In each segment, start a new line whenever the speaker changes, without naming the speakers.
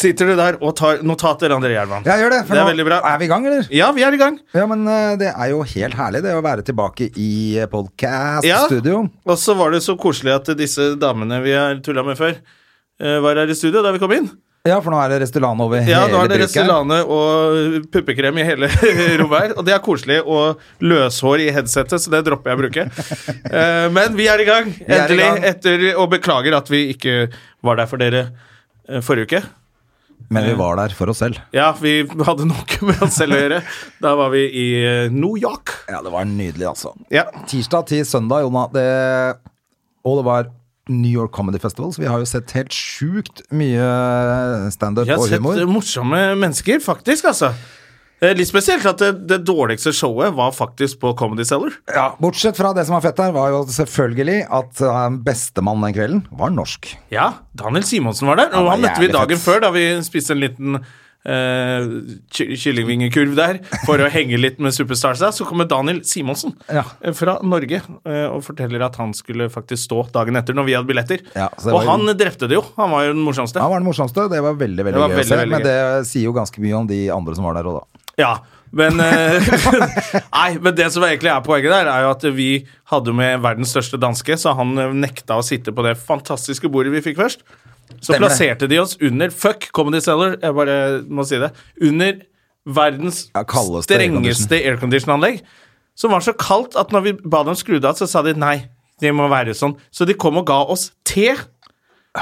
Sitter du der og tar notater, André Gjerman?
Jeg gjør det, for
Det er
nå
veldig bra.
er vi i gang, eller?
Ja, vi er i gang.
Ja, men eh, det er jo helt herlig det å være tilbake i
Ja.
podcast-studio.
Og så var det så koselig at disse damene vi har tulla med før, eh, var her i studio da vi kom inn.
Ja. for nå er det Restylane over
Ja, nå
hele
er det
bruket.
Restylane og puppekrem i hele rommet her. Og det er koselig. Og løshår i headsetet, så det dropper jeg å bruke. Eh, Men vi er i gang,
Vi er i
endelig.
gang.
Etter, og beklager at vi ikke var der for dere eh, forrige uke.
Men vi var der for oss selv.
Ja, vi hadde nok med oss selv å gjøre. Da var vi i eh, New York.
Ja, det var nydelig, altså.
Ja.
Tirsdag til søndag, Jona, det, og det var New York Comedy Festival, så vi har jo sett helt sjukt mye standup
Jeg
og
har sett
humor.
eh, morsomme mennesker, faktisk, altså. Eh, Litt spesielt at det, det dårligste showet var faktisk på Comedy Cellar.
Ja, bortsett fra det som var fett der, var jo selvfølgelig at eh, bestemann den kvelden var norsk.
Ja, Daniel Simonsen var der,
Han
og
var
han møtte vi
jævlig
dagen
fett.
før da vi spiste en liten eh, ky- kyllingvingekurv der for å henge litt med Superstarsa. Så kommer Daniel Simonsen
Ja.
eh, fra Norge eh, og forteller at han skulle faktisk stå dagen etter når vi hadde billetter.
Ja, så det
og
var jo-
han drepte det jo. Han var jo den morsomste.
Han var den morsomste, det var veldig, veldig
Det var
gøy
veldig,
å se,
veldig
men
gøy.
det sier jo ganske mye om de andre som var der òg, da.
Ja, men eh, Nei, men det som egentlig er poenget der, er jo at vi hadde med verdens største danske, så han eh, nekta å sitte på det fantastiske bordet vi fikk først. Så
Stemmer det.
plasserte de oss under Fuck Comedy Cellar, jeg bare må si det. Under verdens
Ja, kaldeste
strengeste aircondition-anlegg. Som var så kaldt at når vi ba dem skru det av, så sa de nei, det må være sånn. Så de kom og ga oss te.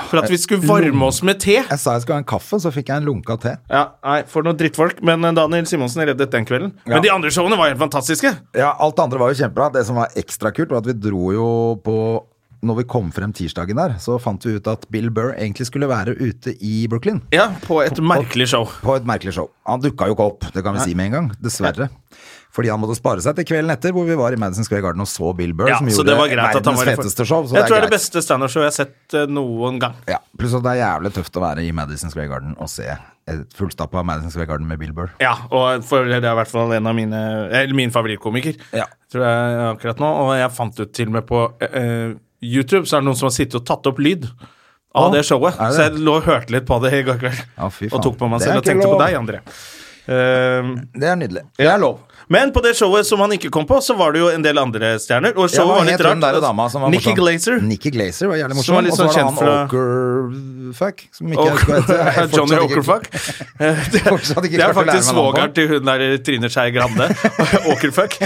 For at vi skulle varme oss med te.
Jeg sa jeg skulle ha en kaffe, så fikk jeg en lunke av te.
Ja, nei, For noen drittfolk, men eh, Daniel Simonsen reddet den kvelden.
Ja.
Men de andre showene var helt fantastiske.
Ja, alt det andre var jo kjempebra. Det som var ekstra kult, var at vi dro jo på Når vi kom frem tirsdagen der, så fant vi ut at Bill Burr egentlig skulle være ute i Brooklyn.
Ja, På et merkelig show.
På et merkelig show. Han dukka jo ikke opp, det kan vi si med en gang. Dessverre. Fordi han måtte spare seg til kvelden etter, hvor vi var i Madison Square Garden og så Bill Burr,
Ja,
som
så
gjorde
det var greit at han
verdens
var
feteste show. Så
Jeg tror det er det
greit.
beste standup-showet jeg har sett eh, noen gang.
Ja, Pluss at det er jævlig tøft å være i Madison Square Garden og se et fullstappa Madison Square Garden med Bill Burr.
Ja, og for det er i hvert fall en av mine Eller min favorittkomiker,
Ja.
tror jeg akkurat nå. Og jeg fant ut til og med på eh, YouTube så er det noen som har sittet og tatt opp lyd av
Å,
det showet.
er det?
Så jeg lå og hørte litt på det i går kveld.
Ja, fy faen.
og tok på meg
Det er
selv og
ikke
tenkte
lov.
på deg, André. Eh,
Det er nydelig. Det er lov.
Men på det showet som han ikke kom på, så var det jo en del andre stjerner. Og
Ja,
showet
hva
var litt
het hun
rart.
der dama som var
Nikki
morsom?
Glaser.
Nikki Glazer var jævlig
Som
morsom.
var litt
og så var det
sånn
han
kjent
Okerfuck. Som ikke
Oker-
jeg husker hva heter. Jeg
Johnny
fortsatt ikke-
Okerfuck. Eh, Det,
Fortsatt
det er
ikke klart å lære
faktisk
meg navnet på
svogeren til hun der Trine Skei Grande. Åkerfuck.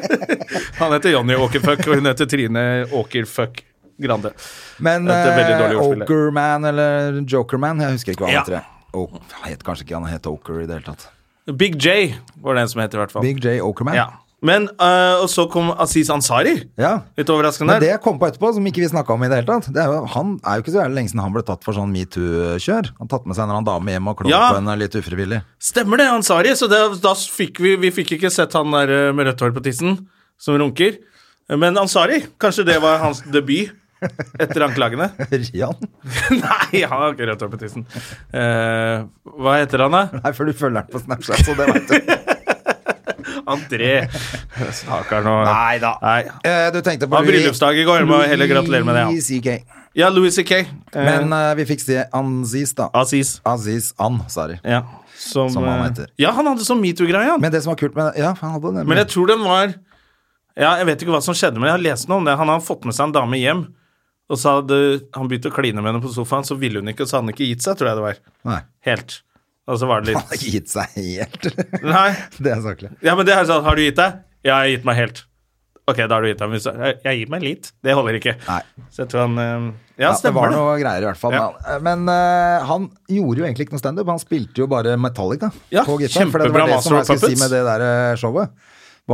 Han heter Johnny Åkerfuck, og hun heter Trine Åkerfuck Grande.
Men
Dette er veldig dårlig
eh,
ordspill, det.
Okerman eller Jokerman, jeg husker ikke hva han
Ja.
heter. jeg. O- Jeg het kanskje ikke han het Oker i det hele tatt.
Big J var det en som het, i hvert fall.
Big J Okerman.
Ja. Men, eh, Og så kom Aziz Ansari.
Ja.
Litt overraskende.
Men det
der.
jeg kom på etterpå, som ikke vi snakka om i det hele tatt det er jo, Han er jo ikke så jævlig lenge siden han ble tatt for sånn metoo-kjør. Han tatt med seg en eller annen dame hjem og klådd
Ja.
på henne litt ufrivillig.
Stemmer det, Ansari. Så det, da fikk vi, vi fikk ikke sett han der eh, med rødt hår på tissen som runker. Men Ansari, kanskje det var hans debut etter anklagene?
Rian?
Nei, han har ikke rødt hår på tissen. Eh, hva heter han, da?
Nei, for du følger han på Snapchat, så det veit du.
André. Stakkar nå.
Nei da.
Nei.
Eh, Du tenkte på
Han har
Louis-
bryllupsdag i går, jeg må heller gratulere med det. Ja,
Louis CK.
ja Louis C.K. Eh,
Men eh, vi fikk se Anziz, da.
Aziz.
Aziz An, sorry.
Ja, som,
Som han
eh,
heter.
Ja, han hadde sånn metoo-greie, han.
Men det som var kult med Ja, han hadde det.
Men jeg tror den var Ja, jeg vet ikke hva som skjedde, men jeg har lest noe om det. Han har fått med seg en dame hjem, og så hadde han begynt å kline med henne på sofaen, så ville hun ikke, og så hadde han ikke gitt seg, tror jeg det var.
Nei.
Helt. Og så var det
Han har
litt
ikke gitt seg helt.
Nei.
det er saklig.
Ja, men det er sånn, har du gitt deg? Ja, jeg har gitt meg helt. Ok, da har du gitt deg. men så- Jeg jeg gir meg litt. Det holder ikke.
Nei.
Så jeg tror han eh, Ja,
Ja, det
stemmer
var
det.
noe greier, i hvert fall.
Ja.
Men, men, eh, han gjorde jo egentlig ikke noe standup. Han spilte jo bare Metallica
Ja,
på gitar. For det
kjempebra
var det
Master
som jeg
of
skulle si
Puppets.
med det der eh, showet.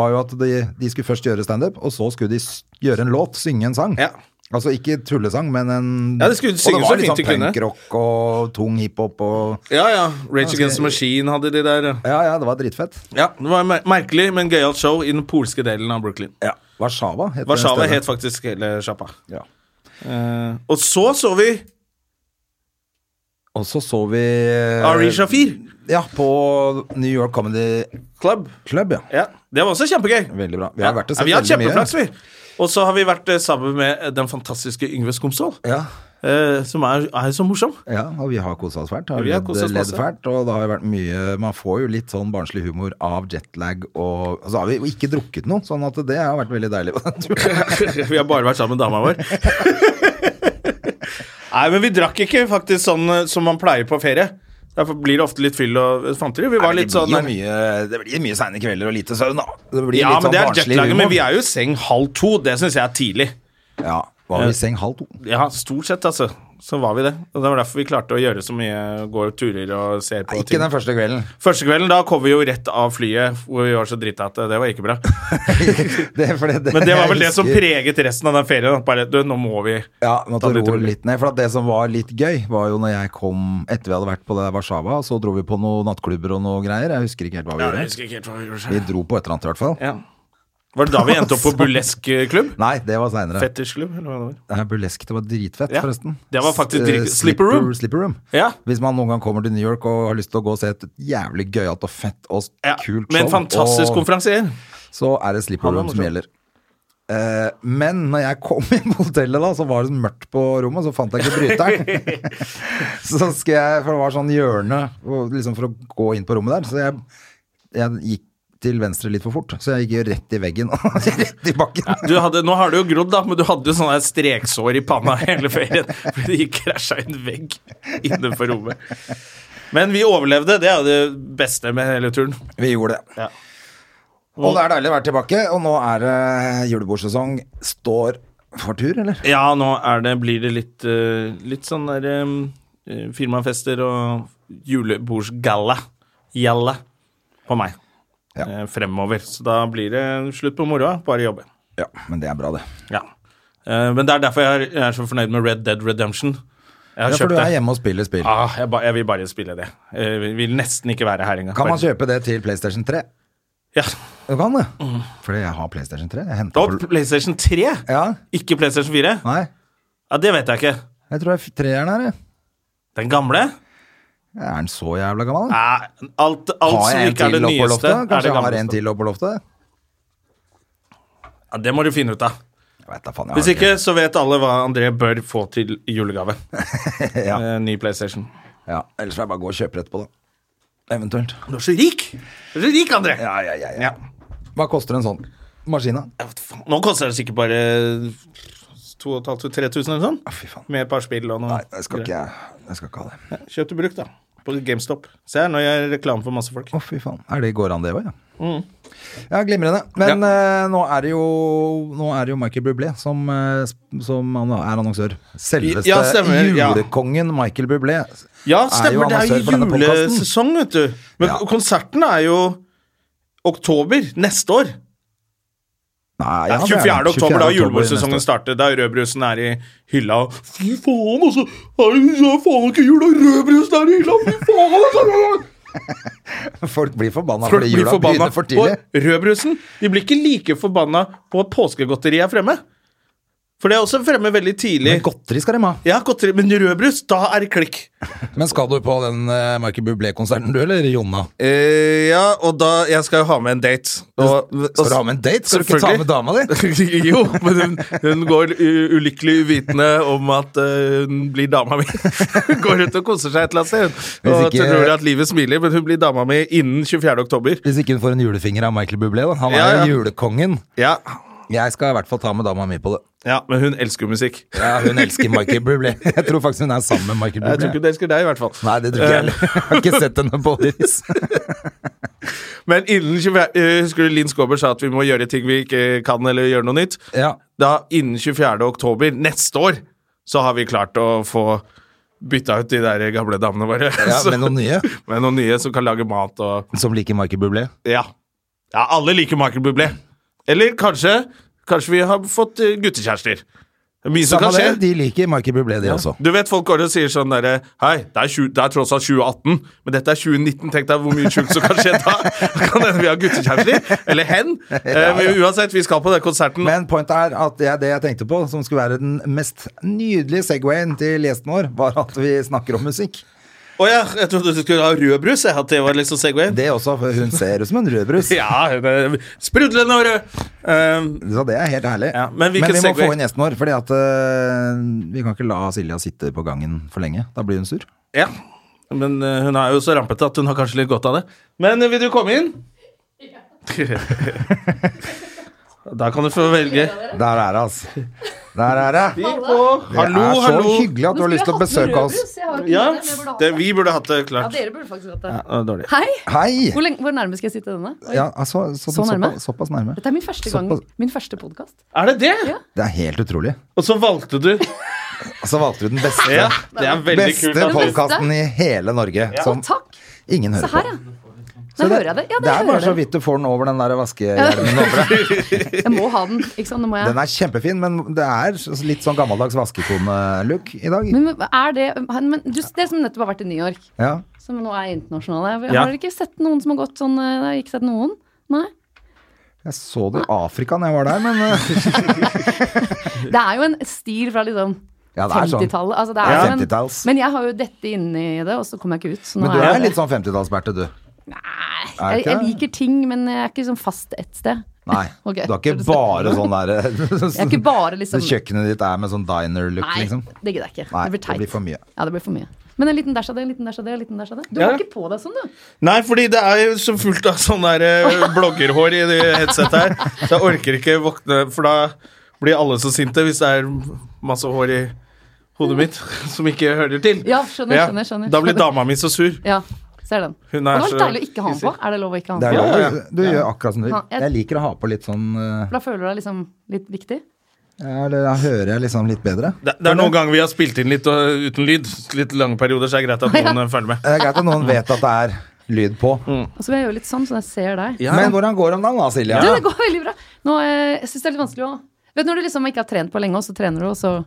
Var jo at de, de skulle først gjøre standup, og så skulle de s- gjøre en låt, synge en sang.
Ja.
Altså ikke tullesang, men en
Ja, de skulle synge
Og det var
så
litt
fint de
sånn
kunne.
punkrock og tung hiphop og
Ja, ja. Rage Against the Machine hadde de der. ja.
Ja, ja, det var dritfett.
Ja, Det var mer merkelig, men gøyalt show i den polske delen av Brooklyn.
Warszawa het det
Warszawa
stedet.
het faktisk hele sjappa.
ja.
Eh, og så så vi
Og så så vi eh,
Ari Shafir
Ja, på New York Comedy
Club.
Club, ja.
Ja, Det var også kjempegøy.
Veldig bra. Vi har vært
Ja,
og sett
vi har hatt
veldig mye.
kjempeflaks, vi. Og så har vi vært eh, sammen med eh, den fantastiske Yngve Skomsvold,
Ja,
eh, som er, er så morsom.
ja, og vi har kosa oss fælt. Har
Vi har
ledd,
koset oss
ledd
masse.
fælt, og det har jo vært mye Man får jo litt sånn barnslig humor av jetlag og Og så har vi jo ikke drukket noe, sånn at det har vært veldig deilig på den turen.
vi har bare vært sammen med dama vår. Nei, men vi drakk ikke faktisk sånn eh, som man pleier på ferie. Derfor blir det ofte litt fyll og eh, fanteri. Vi var
Nei,
litt sånn
det, blir jo mye, det blir mye seine kvelder og lite søvn, da. Det blir
Ja,
litt
men
sånn
det er
barnslig
jetlaget, men
humor.
vi er jo i seng halv to. Det syns jeg er tidlig.
Ja, var vi i seng halv to?
Ja, stort sett, altså. Så var vi det. Og Det var derfor vi klarte å gjøre så mye går turer og ser på
Ikke den første kvelden.
Første kvelden, da kom vi jo rett av flyet hvor vi var så drita at eh, det var ikke bra.
Det, for det-
Men det var vel
jeg
det som
husker-
preget resten av den ferien. at Bare, du, nå må vi
Ja, nå
Ta
tar
det litt
roe
rolig.
litt ned. For at det som var litt gøy, var jo når jeg kom etter vi hadde vært på det der Warszawa, så dro vi på noen nattklubber og noe greier. Jeg husker ikke helt hva vi gjorde.
ikke helt hva vi gjorde
Vi dro på et eller annet, i hvert fall.
Ja. Var det da vi endte opp på burleskklubb?
Nei, det var seinere.
Fettersklubb, eller hva det var.
Burlesk, det var dritfett,
Ja,
forresten.
det var faktisk
S-
drit-
eh,
Slipper Room.
Slipper room.
Ja.
Hvis man noen gang kommer til New York og har lyst til å gå og se et jævlig gøyalt og fett og s-
Ja,
kult
med en
show,
fantastisk
og
konferansier.
så er det Slipper
Han var
Room som
morsom.
gjelder. Eh, men når jeg kom inn på hotellet, da, så var det mørkt på rommet, så fant jeg ikke bryteren. så skal jeg, For det var sånn hjørne og liksom for å gå inn på rommet der, så jeg, jeg gikk til venstre litt for fort. Så jeg gikk jo rett i veggen og rett i bakken.
Du hadde, nå har du jo grodd, da, men du hadde jo sånne her streksår i panna hele ferien. For de krasja i en vegg innenfor rommet. Men vi overlevde. Det er jo det beste med hele turen.
Vi gjorde
Ja.
det. Og det er deilig å være tilbake, og nå er det julebordsesong. Står for tur, eller?
Ja, nå er det, blir det litt, eh, litt sånn der eh, firmafester og julebordsgalla. Gjalla på meg.
Ja.
Eh, fremover. Så da blir det slutt på moroa, bare jobbe.
Ja, men det er bra, det.
Ja. Eh, men det er derfor jeg er, jeg er så fornøyd med Red Dead Redemption. Jeg har
Ja, for
kjøpt
du er
det.
hjemme og spiller spill.
Ah, jeg, ba, jeg vil bare spille det. Jeg vil nesten ikke være her engang.
Kan man
Bare-
kjøpe det til PlayStation 3?
Ja.
Du kan det.
Mhm.
Fordi jeg har PlayStation 3. Jeg hentet
Og
på...
PlayStation 3,
Ja,
ikke PlayStation 4.
nei.
Ja, Det vet jeg ikke.
Jeg tror jeg treeren er det.
Den gamle?
Er den så jævla gammel? da?
Nei, alt, alt
Har
som
jeg en
ikke er
til
det
opp på
nyeste,
loftet?
er
Kanskje
det
jeg har en
gamleste.
til opp på loftet?
Ja, det må du finne ut av.
Jeg vet da faen.
Hvis
Jeg har
ikke, så vet alle hva André bør få til julegave.
Ja.
Eh, Ny PlayStation.
Ja, Ellers får jeg bare gå og kjøpe etterpå, da. Eventuelt.
Du er så rik! Du er så rik, André!
Ja, ja, ja. ja.
Ja.
Hva koster en sånn maskina?
Ja, hva faen. Nå koster det sikkert bare 2500-3000 eller sånn.
Å, fy faen.
Med et par spill og noe.
Nei, jeg skal ikke, jeg skal ikke ha det.
Kjøp til bruk, da. På GameStop. Se her, nå gjør jeg reklame for masse folk.
Å, fy faen. Er det går an, det òg, ja?
Mm.
Ja, glimrende. Men eh, nå, er det jo, nå er det jo Michael Bublé som, eh, sp- som an- er annonsør. Selveste
Ja, stemmer, ja.
julekongen Michael Bublé.
Ja, stemmer.
er
Det er
annonsør
jo
for denne podcasten.
julesesong, vet du. Men
Ja.
konserten er jo oktober neste år. Det er
Nei, ja, det er
24.
det.
oktober, da
24.
julebordsesongen
neste år.
starter. Da rødbrusen er i hylla og Fy faen, altså! Er det det er faen ikke jul, og rødbrusen er i hylla! Fy faen, altså!
Folk blir forbanna
Folk
fordi
blir
jula
forbanna
begynner for tidlig.
på rødbrusen. De blir ikke like forbanna på at påskegodteriet er fremme. For det er også fremme veldig tidlig.
Men godteri skal de ha.
Ja, godteri, men rødbrus, da er det klikk.
Men skal du på den eh, Michael Bublé-konserten, du, eller Jonna?
Eh, ja, og da Jeg skal jo ha med en date.
Skal du ha med en date? Skal du ikke ta
Selvfølgelig.
med dama di?
jo, men hun, hun går u- ulykkelig uvitende om at eh, hun blir dama mi. Hun går rundt og koser seg et eller annet sted. hun.
Hvis
Og
ikke-
tror at livet smiler, men hun blir dama mi innen 24. oktober.
Hvis ikke hun får en julefinger av Michael Bublé, da. Han er
Ja, ja.
jo julekongen.
Ja.
Jeg skal i hvert fall ta med dama mi på det.
ja, men hun elsker jo musikk.
Ja, hun elsker Michael Bublé. Jeg tror faktisk hun er sammen med Michael
Jeg tror ikke
Bublé.
hun elsker deg, i hvert fall.
Nei, det tror ikke jeg heller. Jeg har ikke sett henne på årevis.
Men innen 24, eh, husker du Linn Skåber sa at vi må gjøre ting vi ikke kan, eller gjøre noe nytt?
Ja.
Da innen 24. oktober neste år så har vi klart å få bytta ut de der gamle damene våre.
ja,
Så-
men noen nye
med noen nye som kan lage mat og
som liker Michael Bublé.
Ja. ja alle liker Michael Bublé. Eller kanskje Kanskje vi har fått eh, guttekjærester. Det er mye som
Samme
kan skje.
det, de liker Michael Bublé, de også.
Du vet folk går og sier sånn derre Hei, det er, 20, det er tross alt 2018, men dette er 2019. Tenk deg hvor mye sjukt som kan skje da! Kan hende vi har guttekjærester. Eller hen. Eh, men uansett, vi skal på den konserten.
Men pointet er at det, er det jeg tenkte på, som skulle være den mest nydelige segwayen til gjesten vår, var at vi snakker om musikk.
Å ja, jeg trodde du skulle ha rødbrus. Jeg, at det var liksom segwayen.
Det også, for hun ser ut som en rødbrus.
Ja, det- sprudlende og rød. Eh,
Så det er helt herlig.
Ja, men
men,
hvilken
vi må
segway?
få inn gjesten vår, fordi at øh, vi kan ikke la Silja sitte på gangen for lenge. Da blir hun sur.
ja. Men eh, hun er jo så rampete at hun har kanskje litt godt av det. Men eh, vil du komme inn? da kan du få velge.
Der er det, altså. Der er det. Det
Hallo,
er så
hallo.
hyggelig at du har lyst til å besøke oss.
Ja, det, vi burde hatt det
Ja,
klart.
dere burde faktisk hatt det.
Ja, dårlig.
Hei!
Hei!
Hvor, lenge, hvor nærme skal jeg sitte denne? Oi.
Ja, altså, så,
Så nærme?
Såpass, såpass nærme.
Dette er min første gang,
Såpass.
min første podkast.
Er det det?
Ja.
Det er helt utrolig.
Og så valgte du
Og så valgte du den beste,
Ja, det er veldig kult. altså.
beste
at du-
podkasten i hele Norge. Som
Takk!
ingen
Se
hører
her,
på.
ja.
sånn.
Nå hører jeg det. Ja,
det er bare
hører jeg.
så vidt du får den over den der vaskehjelmen over deg.
Jeg må ha den. ikke sant? Nå må jeg.
Den er kjempefin, men det er litt sånn gammeldags vaskekone-look i dag.
Men er det men du, Dere som nettopp har vært i New York,
Ja.
som nå er internasjonale Har
Ja.
dere ikke sett noen som har gått sånn eh, Jeg har ikke sett noen. Nei.
Jeg så det i Afrika når jeg var der, men eh,
Det er jo en stil fra liksom
Ja, det er sånn.
50-tallet. Altså, det er
Ja.
som en-
50-talls.
men jeg har jo dette inni det, og så kommer jeg ikke ut. Så nå
Men du
er
er
jeg,
litt sånn 50-tallsberte, du.
jeg,
ikke
jeg
det?
liker ting, men jeg er ikke sånn fast ett sted.
Nei.
Ok.
Du er ikke bare sånn der
Jeg er ikke bare liksom
Kjøkkenet ditt er med sånn diner-look,
Nei,
liksom.
det gidder jeg ikke.
Nei,
det blir teit.
for mye.
Ja, det blir for mye. Men en liten dæsj av det, en liten dæsj av det, en liten dæsj av det. Du
Ja.
har ikke på deg sånn, du.
Nei, fordi det er jo så fullt av sånn der eh, bloggerhår i det headsetet her. Så jeg orker ikke våkne, for da blir alle så sinte hvis det er masse hår i hodet mitt som ikke hører til.
Ja, skjønner,
Ja,
skjønner, skjønner.
Da blir
skjønner.
dama mi så sur.
Ja, ser den. Og
Hun
det
er
var
så
litt deilig å ikke ha den på. Er det lov å ikke ha
Det
den
er
på?
lov.
ja, ja.
Du gjør akkurat som du vil.
Ja, jeg-
Jeg liker å ha på litt sånn eh,
Da føler du deg liksom litt viktig.
ja, eller Da hører jeg liksom litt bedre.
Det, det er noen ganger vi har spilt inn litt og, uten lyd. Litt lange perioder, så er det greit at noen eh, følger med.
Det er greit at noen vet at det er lyd på.
Mm.
Og så vil jeg gjøre litt sånn, så jeg ser deg.
Men hvordan går det om dagen da, Silja?
Du, det går veldig bra. Nå, eh, jeg syns det er litt vanskelig å Vet du når du liksom ikke har trent på lenge, og så trener du, og så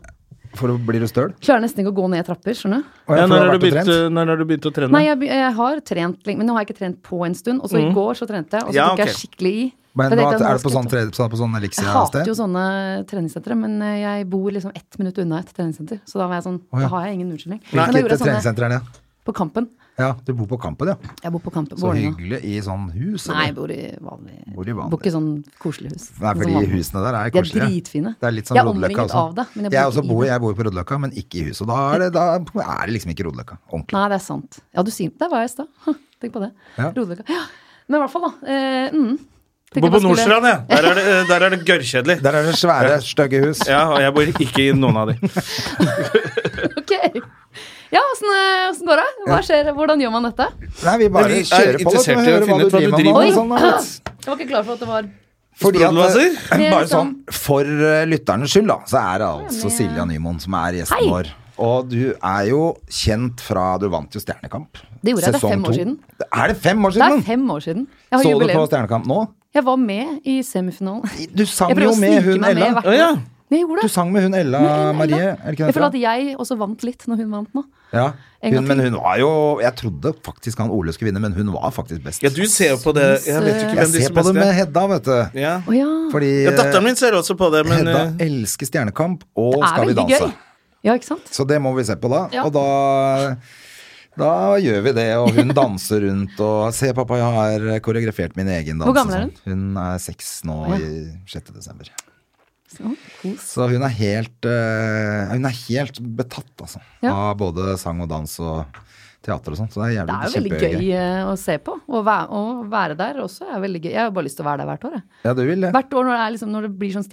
For blir du støl?
klarer nesten ikke å gå ned trapper, skjønner du?
Å, ja,
Ja, når,
for du
har
har
du
vært og
begynt,
trent?
eh, når har du begynt å trene?
Nei, jeg, be- jeg har trent lenge, men nå har jeg ikke trent på en stund. Og så i går så trente jeg, og så
Mm. Ja,
tok jeg
ok.
skikkelig i.
Men
For jeg
hva,
tenkte at nå
er det
skal
på
jeg
sånn,
ta-
tre, så er det på sånn
Jeg hater jo sånne treningssentre, men eh, jeg bor liksom ett minutt unna et treningssenter. Så da var jeg sånn,
ja.
da har jeg ingen unnskyldning. Men da gjorde sånn-
Hvilket
jeg sånne
treningssenter er det?
på Kampen.
Ja, du bor på Kampen, ja.
Jeg bor på Kampen.
Så
Vålerenga.
hyggelig i sånn hus.
Nei,
eller?
jeg bor i vanlig
Bor i vanlig.
Bor ikke i sånn koselig hus.
Nei,
Sånn
fordi
vanlig.
husene der
De er
er koselige.
dritfine.
Det er litt sånn som
Jeg er
Rodeløkka
omringet
også.
av det, men jeg
jeg,
bor ikke
også
i
bor,
det.
jeg bor på Rodeløkka, men ikke i huset. Da er det, da er det liksom ikke Rodeløkka. Ordentlig.
Nei, det er sant. Ja, du sier Der var jeg i stad. Tenk på det.
Ja.
Rodeløkka. Ja. Men i hvert fall, da. Eh, mm. Tenkte
Jeg bor
jeg
på
bare skulle-
Nordstrand, jeg. Der er det, eh, der er det gørrkjedelig.
Der er det svære, stygge hus.
Ja, og jeg bor ikke i noen av de.
Ok. Ja, åssen eh, åssen går det? Hva skjer? Hvordan gjør man dette?
Nei, vi bare
Men vi er
kjører på. da,
interessert
så
i
må
å
vi høre
finne ut hva du
med
driver
og
med.
sånn, da, vet du.
Jeg var ikke klar for at det var
Fordi at,
Sprudlevaser?
eh,
Det er
bare sånn,
liksom-
for eh, lytternes skyld, da, så er det altså Silja Nymoen som er
Hei.
gjesten vår. Og du er jo kjent fra Du vant jo Stjernekamp.
Det gjorde jeg, det er fem år
to.
siden.
Er det fem år
Det er
siden?
fem år siden. Jeg har
Så du på
jubileum.
Stjernekamp nå?
Jeg var med i semifinalen.
Du sang
Jeg prøver
jo
å snike
med hun
meg med
Ella.
hvert
Å ja.
år. Men jeg gjorde
Du
det.
sang med hun Ella
Med Ella.
Marie, er det ikke
Jeg føler at
det?
jeg også vant litt når hun vant nå.
Ja.
En gang
Hun, men
til.
hun var jo Jeg trodde faktisk han Ole skulle vinne, men hun var faktisk best.
ja, du ser jo på det. Jeg vet jo ikke
jeg
hvem
ser
disse
på det
beste
med
er.
Hedda, vet du.
Ja.
Å ja.
Fordi
ja, datteren min ser også på det, men
Hedda
eh,
elsker Stjernekamp og
Det er
Skal vi
veldig
danse.
gøy. Ja, ikke sant?
Så det må vi se på da.
Ja.
Og da da gjør vi det, og hun danser rundt og Se, pappa, jeg har koreografert min egen dans.
Hvor gammel er
og sånn. Hun er seks nå i 6. desember.
Så, kos.
Så hun er helt, eh, hun er helt betatt, altså.
Ja.
Av både sang og dans og teater og sånn. Så det
Det
er jævlig
er jo veldig
kjempegøy.
gøy eh, å se på. Å være, å være der også er veldig gøy. Jeg har bare lyst til å være der hvert år. Jeg.
Ja, du vil det.
Hvert år når det, er liksom, når det blir sånn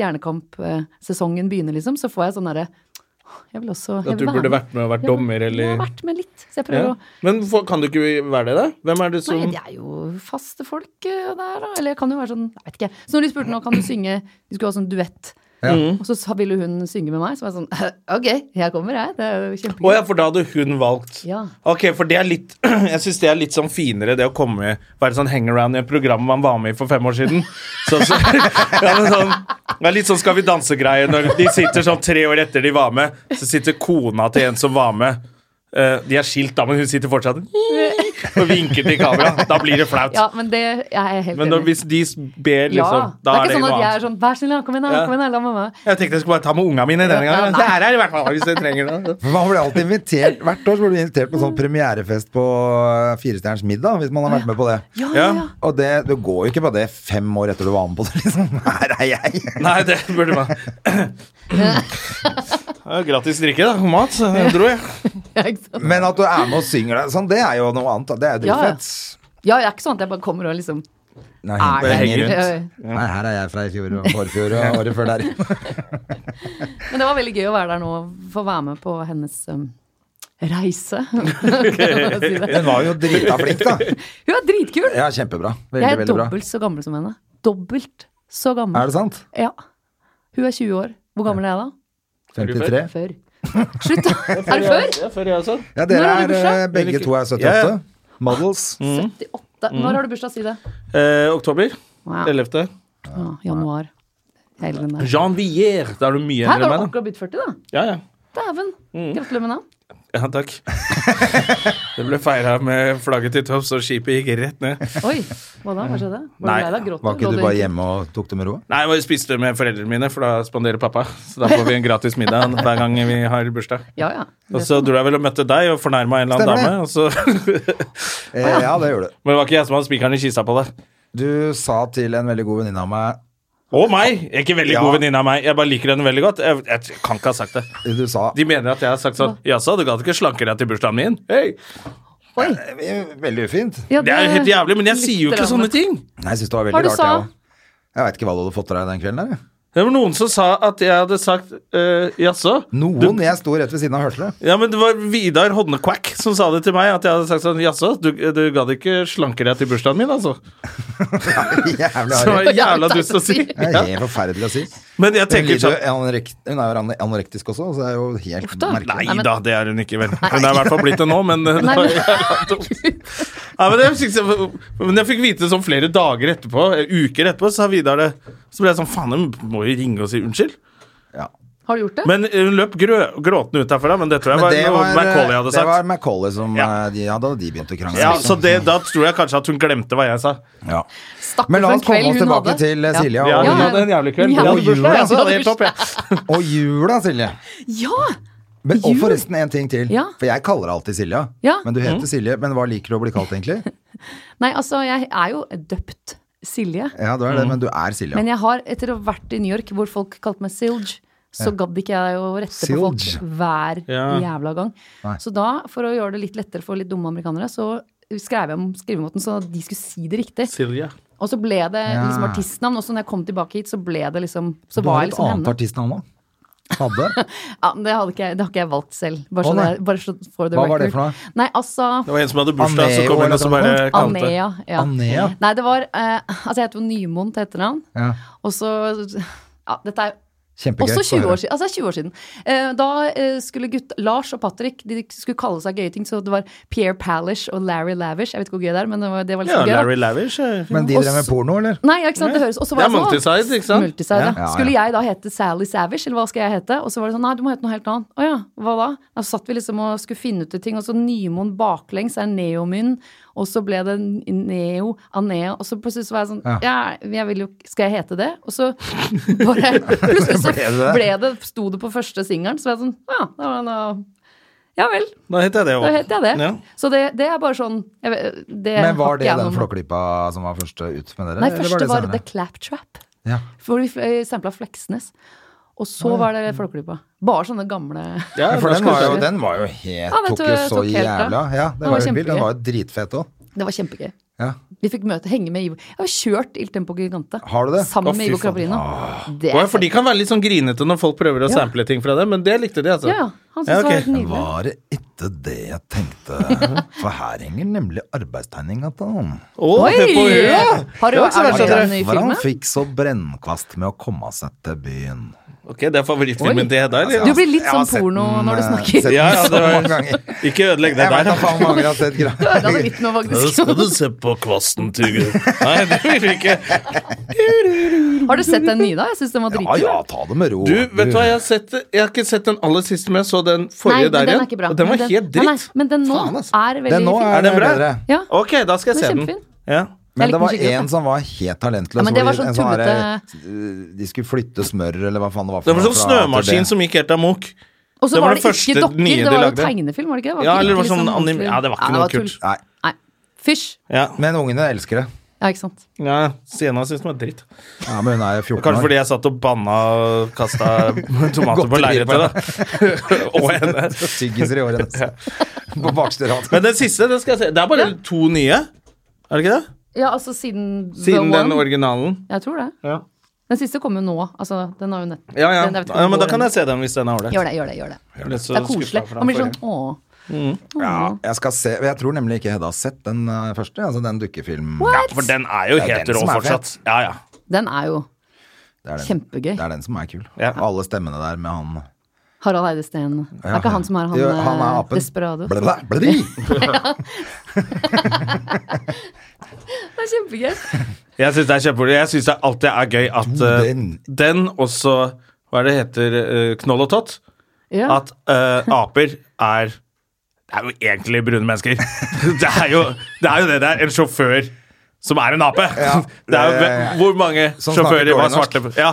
Stjernekamp-sesongen begynner, liksom, så får jeg sånn derre Jeg vil også jeg
at du
vil være
burde
med.
vært med og vært
Jeg vil-
dommer,
Jeg
eller
har vært med litt, så jeg prøver
ja. Men for, kan du ikke være det, da? Hvem er det
å
som
Nei, det er jo faste folk eh, der, da. Eller jeg kan jo være sånn Jeg vet ikke. Så når de spurte nå, kan du synge Du skulle ha sånn duett.
Mm.
Og så sa- ville hun synge med meg, så var jeg sånn Ok, jeg kommer, jeg. Det er jo
Å
kjempegøy.
ja, for da hadde hun valgt.
Ja.
Ok, for det er litt Jeg syns det er litt sånn finere, det å komme være sånn hangaround i et program man var med i for fem år siden. Så, så, ja, men sånn Det er litt sånn Skal vi danse-greie. Når de sitter sånn tre år etter de var med, så sitter kona til en som var med. Eh, de er skilt da, men hun sitter fortsatt og vinker til kamera. Da blir det flaut.
Ja, men det jeg er helt
Men når,
enig.
hvis de ber,
Ja,
liksom,
det
da
er
er
ikke
det
sånn at
noe
jeg er
annet.
sånn Vær snill, ja, kom igjen, da,
Ja.
kom igjen, da, la meg være med.
Jeg tenkte jeg skulle bare ta med unga mine denne gangen. Det er her i hvert fall, hvis dere trenger det.
Man blir alltid invitert Hvert år så blir du invitert på sånn premierefest på eh, Firestjerners middag, hvis man har vært med på det.
Ja, ja,
Ja.
ja.
Og det, du går jo ikke på det fem år etter du var med på det, liksom. Her er jeg!
Nei, det burde man. Ja, Gratis drikke, da. og Mat. så Jeg dro, jeg.
Ja, ikke sant?
Men at du er med og synger det, sånn, det er jo noe annet. da. Det er jo
Ja, ja.
dritfett.
ja, det er ikke sånn at jeg bare kommer og liksom
Nei,
er
Bare
der.
henger rundt.
Ja, ja.
Nei, her er jeg fra i fjor og forfjor og året før der.
Men det var veldig gøy å være der nå, få være med på hennes um, reise.
Hun var jo drita flink, da.
Hun er dritkul!
Ja, kjempebra. Veldig,
Jeg er
veldig bra.
dobbelt så gammel som henne. Dobbelt så
Mm.
gammel.
Er det sant?
Ja. Hun er 20 år. Hvor gammel er jeg da?
53?
Før. Slutt, da! Er det før?
Ja, før jeg også.
Ja,
Når
dere
har
er
du bursdag?
eh, begge to er Mm. 78.
Ja, ja.
Models.
Mm.
78. Når har du bursdag, si det?
Eh, oktober.
Wow.
11.
Ja, januar. Hele den der.
Jean Villiers. Da er du mye
Her
eldre
har
enn
du
meg, da. Mm.
akkurat blitt 40, da.
Ja, ja.
Dæven. Gratulerer med navn.
Ja, takk. Det ble feira med flagget til topps, og skipet gikk rett ned.
Oi, hva da? Hva skjedde? Var
Nei,
du lei deg? Gråt
Var ikke
Lå
du bare hjemme og tok det med ro?
Nei, jeg spiste med foreldrene mine, for da spanderer pappa. Så da får vi en gratis middag hver gang vi har bursdag.
Ja, ja.
Og så dro jeg vel og møtte deg og fornærma en eller annen dame. Og så
Eh, ja, det gjorde du.
Men det var ikke jeg som hadde spikeren i kista på deg.
Du sa til en veldig god venninne av meg
Og meg! Jeg er ikke veldig
Ja.
god venninne av meg. Jeg bare liker henne veldig godt. Jeg, jeg kan ikke ha sagt det.
Du sa
De mener at jeg har sagt sånn Jaså, du gadd ikke slanke deg til bursdagen min? Hei!
Eh, Veldig ufint.
Ja,
Det er jo helt jævlig, men jeg sier jo ikke
Lytter
sånne ting.
Nei, jeg syns det var
Hva
veldig
du
rart,
sa?
jeg òg. Jeg veit ikke hva du hadde fått til deg den kvelden der. jeg.
Det var noen som sa at jeg hadde sagt eh, jaså.
Noen jeg sto rett ved siden av og hørte det.
Ja, men det var Vidar Hodnekvakk som sa det til meg, at jeg hadde sagt sånn Jaså, du, du gadd ikke slanke deg til bursdagen min, altså? Så
Jævlig
det
harry.
var jævla dust å si.
Det er
Ja.
helt forferdelig å si.
Men jeg
Hun,
tenker
lider
sånn
jo anorekt, hun er jo ane- anorektisk også, så det er jo helt
da.
merkelig.
Nei da, det er hun ikke, vel. Hun er i hvert fall blitt det nå, men eh, det
Nei,
var
men-
jævla dumt. Nei, men, jeg synes jeg, men jeg fikk vite det sånn flere dager etterpå, eh, uker etterpå, sa Vidar det. Så ble jeg sånn Faen, hun må jo ringe og si unnskyld.
Ja.
Har du gjort det?
Men eh, hun løp grø gråtende ut derfra, men det tror jeg
Men det
var noe
var,
Macaulay hadde
det
sagt.
var Macaulay som
Ja.
eh, de, ja, Da hadde de begynt å krangle.
Ja, så
liksom.
det, Da tror jeg kanskje at hun glemte hva jeg sa.
Ja.
Stakkars
Men
for
la
en
oss komme
kveld
oss
hun
tilbake
hadde.
til eh,
Ja.
Silja.
Ja,
Og,
hun
ja.
hadde en jævlig kveld.
Ja,
Ja,
hun
bursdag,
hadde
ja, så det var
bursdag.
helt topp, ja.
og jula, Silje.
Ja!
Men, og
Jul?
forresten en ting til.
Ja.
For jeg kaller deg alltid Silja.
Ja.
Men du heter Silje. Men hva liker du å bli kalt, egentlig?
Nei, altså, jeg er jo døpt Silje.
Ja, du er det, men du er Silja.
Men jeg har, etter å ha vært i New York, hvor folk kalte meg Silge, så gadd ikke jeg å rette
Silge.
på folk hver
Ja.
jævla gang.
Nei.
Så da, for å gjøre det litt lettere for litt dumme amerikanere, så skrev jeg om skrivemåten sånn at de skulle si det riktig.
Silja.
Og så ble det
Ja.
liksom artistnavn. Og så når jeg kom tilbake hit, så ble det liksom Så
du
var
har
jeg
et
liksom
annet
henne.
artistnavn nå. Hadde.
Ja, men det, hadde ikke, jeg- det har ikke jeg valgt selv. Bare
Å,
så
nei.
det er- bare så for the
Hva
record.
var det for noe?
Nei, altså
Det var en som hadde bursdag, så
Aneo
kom hun
eller
og så
noe
bare
sånn,
sånt.
kalte
Anea. Ja.
Anea.
Nei, det var eh, Altså, jeg heter jo Nymoen til etternavn.
Ja.
Og så Ja, dette er
Kjempegøy.
også 20 år
å høre.
siden. Altså, det er 20 år siden. Eh, da eh, skulle gutt Lars og Patrick de skulle kalle seg gøye ting, så det var Pierre Palish og Larry Lavish. Jeg vet ikke hvor gøy det er, men det var, det var
Ja,
liksom gøy. da.
Larry Lavish. eh.
Men de drev med porno, eller?
Nei, ja, ikke sant, det høres Og så
Det
var
er
jeg sånn,
multiside, ikke sant?
Multiside, ja.
Ja, ja.
Skulle jeg da hete Sally Savage, eller hva skal jeg hete? Og så var det sånn, nei, du må hete noe helt annet. Å ja, hva da? Da satt vi liksom og skulle finne ut ting, og så Nymoen baklengs er Neomyn, og så ble det Neo Anea, og så plutselig så var jeg sånn, ja, jeg vil jo, skal jeg hete det? Og så bare, plutselig så
Ble det det?
ble det, sto det på første singelen, så var jeg sånn, ja, da var det noe- ja vel,
Da heter jeg det
da
òg.
heter jeg det.
Ja.
Så det, det er bare sånn, jeg, vet- det
Men
har
var
ikke
det
jeg
den
noe-
flåklypa som var først ut med dere?
Nei,
eller
første var det
senere?
The Claptrap.
Ja.
For vi fl- sampla Fleksnes. Og så var det Flåklypa. Bare sånne gamle
Mm. Ja,
For den
norsk
var jo,
kultur.
den var jo helt
den
Tok
tok-
jo så
tok helt
jævla
av.
Ja, det
Den var
var jo vilt. Den
kjempegøy.
var jo dritfet òg.
Det var kjempegøy.
Ja.
Vi fikk møte, henge med Ivo. Jeg har kjørt Il Tempo Gigante.
Har du det?
Sammen
Å, fy
med Ivo
faen.
Caprino. Det
Å, ja, For de kan være litt sånn grinete når folk prøver å sample ting fra det, men det likte de, altså.
Ja, ja. Han syntes
Ja,
det var
ok.
helt nydelig.
Var det ikke det jeg tenkte? For her henger nemlig arbeidstegninga til han.
Å, hør på hun, ja.
Har du
Det var ikke så
er
verst,
det
dere.
den nye
Derfor han
filmen?
fikk så brennkvast med å komme seg til byen. Altså,
Ok, det er favorittfilmen
Oi.
til Hedda, eller?
Du blir litt
Jeg har
sånn porno
sett den,
når du
eh,
snakker.
sett
Ja, ja,
den
det
så
var-
mange ganger.
Ikke ødelegg det
Jeg vet
der,
da
da.
faen hvor mange jeg har sett
Det hadde
gra-
litt nå, faktisk.
se på kvasten, Tuge. Nei, det vil du ikke.
Har du sett den nye, da? Jeg syns den var
Ja
dritkul.
ja, ta det med ro.
Du, vet du hva, jeg har, sett, jeg har ikke sett den aller siste, men jeg så den
Nei,
forrige
men
der
den
igjen.
er ikke bra.
Og den var
Men Nei,
helt dritt.
nei, men den nå
Faen, altså.
er veldig
Den nå
fin.
er,
Er den bra?
bedre.
Ja,
Ok, da skal
Den
jeg se
er
den.
kjempefin.
Ja.
Jeg
Men det
likte
var
den skikkelig
en
godt.
som var helt talentløs.
Ja, men det
hvor
var
de-
sånn
en sånn
tullete-
herre- eh, De skulle flytte smør, eller hva faen det var. for
Det var sånn
noe, fra A til B.
snømaskin som gikk helt amok.
Og så
Det var
var
det
det
første
ikke dokker,
nye de
det var jo
lagde.
tegnefilm, var det ikke? det?
Ja,
ikke
eller det var
riktig
sånn
sånn
anim-
ordentlig-
Ja, det var ikke noe kult.
tull.
Nei,
Nei. Fysj.
Ja,
men ungene elsker det.
Ja, ikke sant.
ja Siena synes den var dritt.
Ja, men hun er jo 14
Kanskje
år.
fordi jeg satt og banna og kasta tomater på
Godteri på
lerretet, da. og henne.
Tyggiser i året hennes. På bakste rad.
Men den siste, den skal jeg se. Det er bare to nye. Er det ikke det?
Ja, altså siden The
Siden den
One.
originalen.
Jeg tror det.
Ja.
Den siste kom jo nå. Altså, den har jo nett
Ja, ja.
Den- jeg vet ikke
ja
om
men da
den-
kan jeg se den hvis den er ålreit.
Gjør det, gjør det, gjør det.
Jeg ble så
Det er
skuffet
koselig.
for den
Man blir sånn
forrige.
åh.
Ja, jeg skal se. Jeg tror nemlig ikke Hedda har sett den eh, første, altså den dukkefilmen.
What?
For den er jo
Det er
helt
den
rå
som er
fortsatt. Ja, ja.
Den er jo
Det er den,
kjempegøy.
det er den som er kul.
Ja.
Og alle stemmene der med han
Harald Eide Steen. Det er ikke han som er han,
Jo, han er
eh,
apen.
desperado.
Blæ, blæ, blæ,
Det er kjempegøy.
Jeg syns det er kjempemoro. Jeg syns det alltid er gøy at eh, den,
Den.
og så Hva er det heter? eh, knoll og tott?
Ja.
At eh, aper er Det er jo egentlig brune mennesker. Det er jo det er jo det der. En sjåfør som er en ape. det er jo,
det-
hvor mange
Som
sjåfører
snakker
var
dårlig norsk.
svarte? Ja,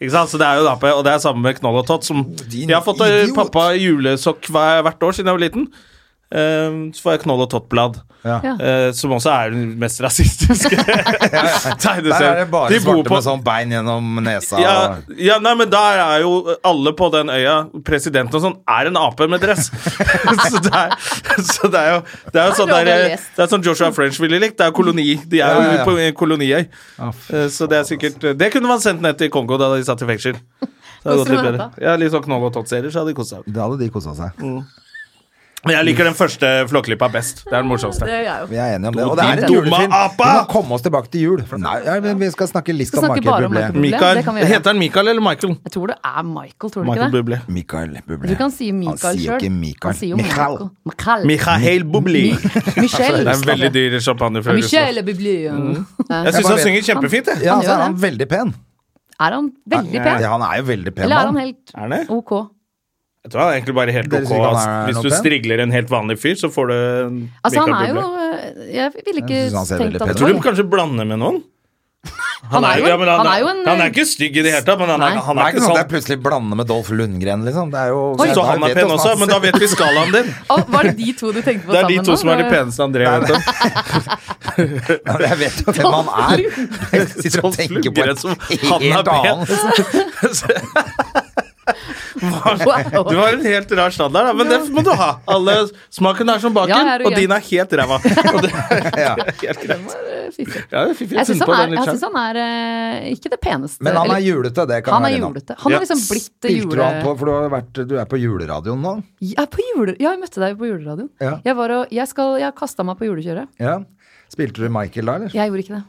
ikke sant? Så det er jo en ape, og det er samme med knoll og tott. Som
Din
jeg har fått eh,
idiot.
pappa julesokk hver, hvert år siden jeg var liten. Eh, så får jeg knoll og tott-blad.
Ja.
Ja.
Eh, som også er den mest rasistiske
Der er
tegneserien.
det bare
De bor
svarte
på
med sånn bein gjennom nesa.
ja,
og-
ja, nei, men der er jo alle på den øya, presidenten og sånn, er en ape med dress. så, det er, så det er jo Det er jo sånn,
Det er
der,
bra
eh, det er sånn Joshua French ville likt. Det er jo koloni. De er jo
Ja, Ah, altså. ja, ja.
på en koloniøy.
Ja,
Eh, Så det er sikkert Det kunne man sendt ned til Kongo da de satt i fengsel. Så
Koser
hadde det gått litt
du deg
bedre. Ja, litt sånn Knoll og Tott-serier, så hadde de kost seg.
Da hadde de kosa seg.
Mm. Men jeg liker den første Flåklypa best. Det er den
Det
morsomste.
er jeg jo.
Vi er enige om det. Og det er en
Din dumme
julefilm.
apa!
Vi må komme oss tilbake til jul. For- Nei, ja, men vi skal snakke litt
Skal
om
snakke bare om
Michael Bublé.
Michael
Mikael.
Det kan vi gjøre.
Heter han Michael eller Michael?
Jeg tror det er Michael, tror du ikke
Michael
det?
Bublé.
Michael Bublé.
Du kan si Michael
Han sier jo
selv.
ikke
Han
Michael.
sier jo
Michael.
Michael. Michael.
Michael Bublé.
Michel.
Det er en veldig dyr champagne fra Russland.
Michel Bublé.
Jeg syns
bare
han synger kjempefint, jeg.
Ja,
Han
så
gjør
er han veldig pen.
Er han veldig pen?
Ja, han er jo veldig pen.
Eller er han
mann.
helt
Er han det?
ok?
Jeg tror han er egentlig bare helt
Dere
ok.
synes ikke han
ass.
er
Hvis
noe
du
pen?
strigler en helt vanlig fyr, så får du en
Altså, han
Michael
er jo
Bublé.
øh, Jeg ville ikke
Jeg synes han ser
tenkt at det
veldig pen ut.
Jeg
var
tror du kanskje blander med noen.
Han er jo-
ja, men han,
han er
er,
jo en-
han er ikke stygg i det hele tatt, men han er,
Nei.
han
Det
er
er ikke
ikke
sånn at
sånn.
jeg plutselig blander med Dolph Lundgren, liksom. Det er jo Jeg
Så
bare
han er
vet
pen
hvordan
også,
han
men da vet vi skalaen din.
Å, Var det de to du tenkte på
Det er
sammen eh,
de to
nå?
som er de peneste André vet om.
ser- Jeg vet jo hvem han er. Jeg sitter og
Dolph
tenker på
Lundgren som han er
helt
pen.
annet.
Du
Wow.
har en helt rar standard, da, men det må du ha. Alle smaken er som baken,
Ja, jeg er jo
og din er helt ræva. Og det
Ja.
er helt greit.
Den var, øh, fiffig.
Ja, det er fiffig å
Jeg syns
finne
han
på
er,
den
jeg
litt
synes
selv.
han er øh, ikke det peneste.
Men han
eller-
er julete, det kan
han er
jeg være enig om.
julete. Han har
Ja.
liksom blitt det
Spilte du han på,
jule...
for du, har vært, du er på juleradioen nå?
Jeg, er på jule... ja, jeg møtte deg på juleradioen.
Ja.
Jeg, var og, jeg, skal, jeg kasta meg på julekjøret.
Ja. Spilte du Michael da, eller?
Jeg gjorde ikke det.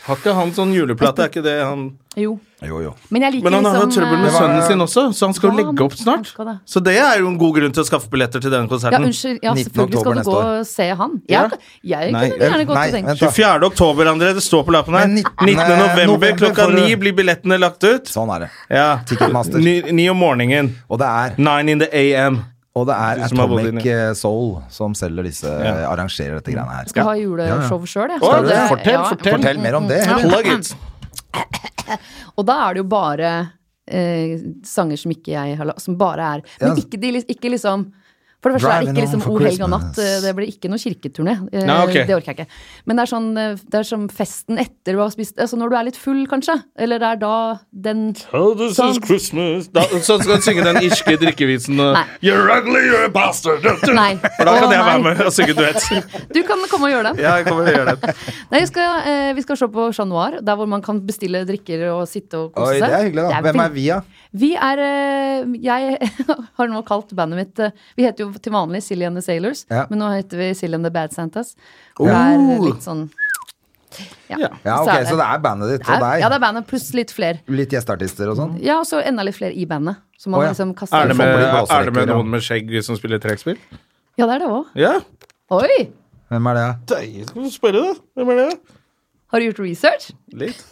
Har ikke han sånn juleplate? Er ikke det han
Jo.
Jo, jo.
Men jeg liker
Men han har jo
liksom
trøbbel med
øh,
sønnen sin også, så han skal jo
Ja, han-
legge opp
han
snart.
skal det.
Så det er jo en god grunn til å skaffe billetter til denne
Ja,
konserten.
unnskyld. Ja,
19.
selvfølgelig skal
oktober
du gå
neste år.
og se han.
Ja.
Jeg, jeg
Nei,
kunne gjerne gått
Nei,
og tenkt
vent da.
24. oktober, André. Det står på lappen her.
Men
19.
19.
november
november
klokka
får du-
9 blir billettene lagt ut.
Sånn er det.
Ja.
Ticketmaster.
9, om morgenen.
Og det er,
9 in the AM.
og det er
Du som har bodd
Atomic
inne.
eh, Soul som selger disse, eh, arrangerer dette greiene her.
skal ha juleshow sjøl, jeg.
Å,
Så
det-
det-
fortell,
ja.
fortell.
Fortell mer om det. Henrik.
Plug it.
Og da er det jo bare eh, sanger som ikke jeg har la- Som bare er Men
Ja.
ikke, de, li- ikke liksom For det første er det
Driving
ikke
home
liksom
for
O helga
Christmas.
natt. eh, Det blir ikke noe kirketurné. Eh,
Nei, ok.
Det orker jeg ikke. Men det er sånn eh, Det er som festen etter du har spist Altså når du er litt full, kanskje. Eller det er da den
Oh, this
Sånn.
is Christmas da, Så skal du synge den irske drikkevisen og,
Nei.
You're ugly, you're a bastard. For
Nei.
da kan
Å,
jeg være
nei.
med og synge duett.
Du kan komme og gjøre det.
Ja, jeg kommer til å gjøre det.
Nei, vi skal, eh, vi skal se på Chat Noir, der hvor man kan bestille drikker og sitte og kose
Oi,
seg.
det er hyggelig, da. Hvem
veldig-
er vi, da?
Vi er eh, Jeg har nå kalt bandet mitt eh, Vi heter jo til vanlig Silly and the Sailors,
Ja. Oh.
men nå heter vi Silly and the Bad Santas. Og det er litt eh, sånn Ja,
Ja,
Så
ok, så det er bandet ditt og
er- Ja, det er
deg.
Mm. bandet, pluss litt flere.
Litt gjesteartister og sånn.
Ja, og så enda litt flere i bandet. Så man
Å, ja.
liksom kaster
Er det, med,
Får bli
er det med
blåserekker, ja.
noen med skjegg som spiller trekkspill?
Ja, det er det òg.
Ja.
Oi!
Hvem er det?
Deilig. Skal du spørre, da? Hvem er det?
Har du gjort research?
Litt.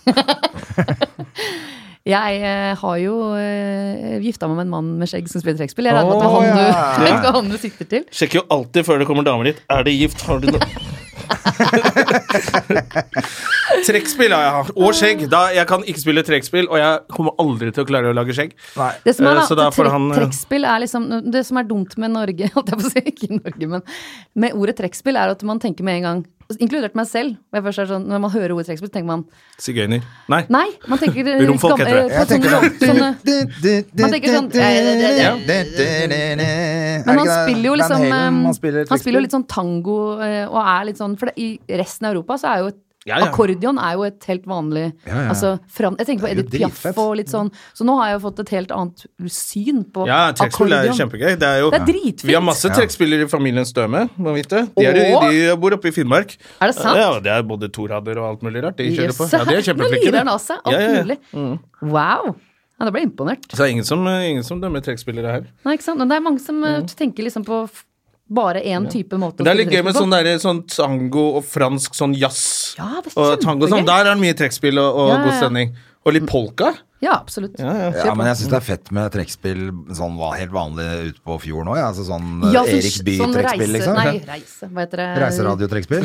Jeg eh, har jo eh, gifta meg med en mann med skjegg som spiller trekkspill. Jeg regner med at det
Å,
var han,
ja.
du, det var han du sikter til.
Sjekker jo alltid før det kommer damer dit. Er det gift? Har du noe Trekkspill har jeg hatt. Og skjegg. Da, jeg kan ikke spille trekkspill, og jeg kommer aldri til å klare å lage skjegg.
Nei.
Det som er,
Eh,
da,
så da
at
får
trekk-
han, eh,
trekkspill er liksom Det som er dumt med Norge, holdt jeg på å si, ikke Norge, men med ordet trekkspill, er at man tenker med en gang Inkludert meg selv. Når, jeg først er sånn, når man hører ordet trekkspill, tenker man
Sigøyner. Nei.
Nei! Man tenker
Romfolk
gam-
heter
eh,
det.
på
Jeg tenker sånn-
sånne- sånne, Man tenker sånn, eh, det- det-
Ja. Men
Men han spiller jo liksom
Halen,
eh,
han spiller
Han spiller jo
trekkspill.
litt sånn tango eh, og er litt sånn For det, i resten av Europa så er jo et
Ja, ja.
Akkordeon er jo et helt vanlig
Ja, ja.
Altså, fram, Jeg tenker på
jo
Edith Piaf
dritfett.
og litt sånn. Så nå har jeg jo fått et helt annet syn på
Ja, trekkspill er
akkordeon.
kjempegøy. Det er jo
Det er dritfint.
Vi har masse trekkspillere i familien Støme. Må vite. De, er,
Åh!
de bor oppe i Finnmark.
Er det sant?
Ja, det er både Torader og alt mulig rart. De kjører
Jøss.
på. Ja, de er
Nå
kjempeflinke.
lyder
de.
han av seg. Alt
Ja, ja, ja.
mulig.
Mm.
Wow. Ja, da ble jeg imponert.
Så det er ingen som, ingen som dømmer trekkspillere her.
Nei, ikke sant? Men det er mange som eh,
Mm.
tenker liksom på f- bare én type måte å
Men det er litt
spille
gøy med
trekkspill
sånn, der, sånn tango og fransk sånn jazz
Ja, det er
og tango og sånn.
kjempegøy.
Der er det mye trekkspill og, og
Ja, ja,
god
ja.
stemning. Og litt polka.
på. Ja, absolutt.
ja.
Ja, men jeg syns det er fett med trekkspill sånn va- helt vanlig ute på fjorden òg. Ja. Altså sånn eh,
Ja, sånn-
Erik Bye-trekkspill,
sånn reise-
liksom.
Nei, eh. reise. Hva heter det?
Reiseradiotrekkspill.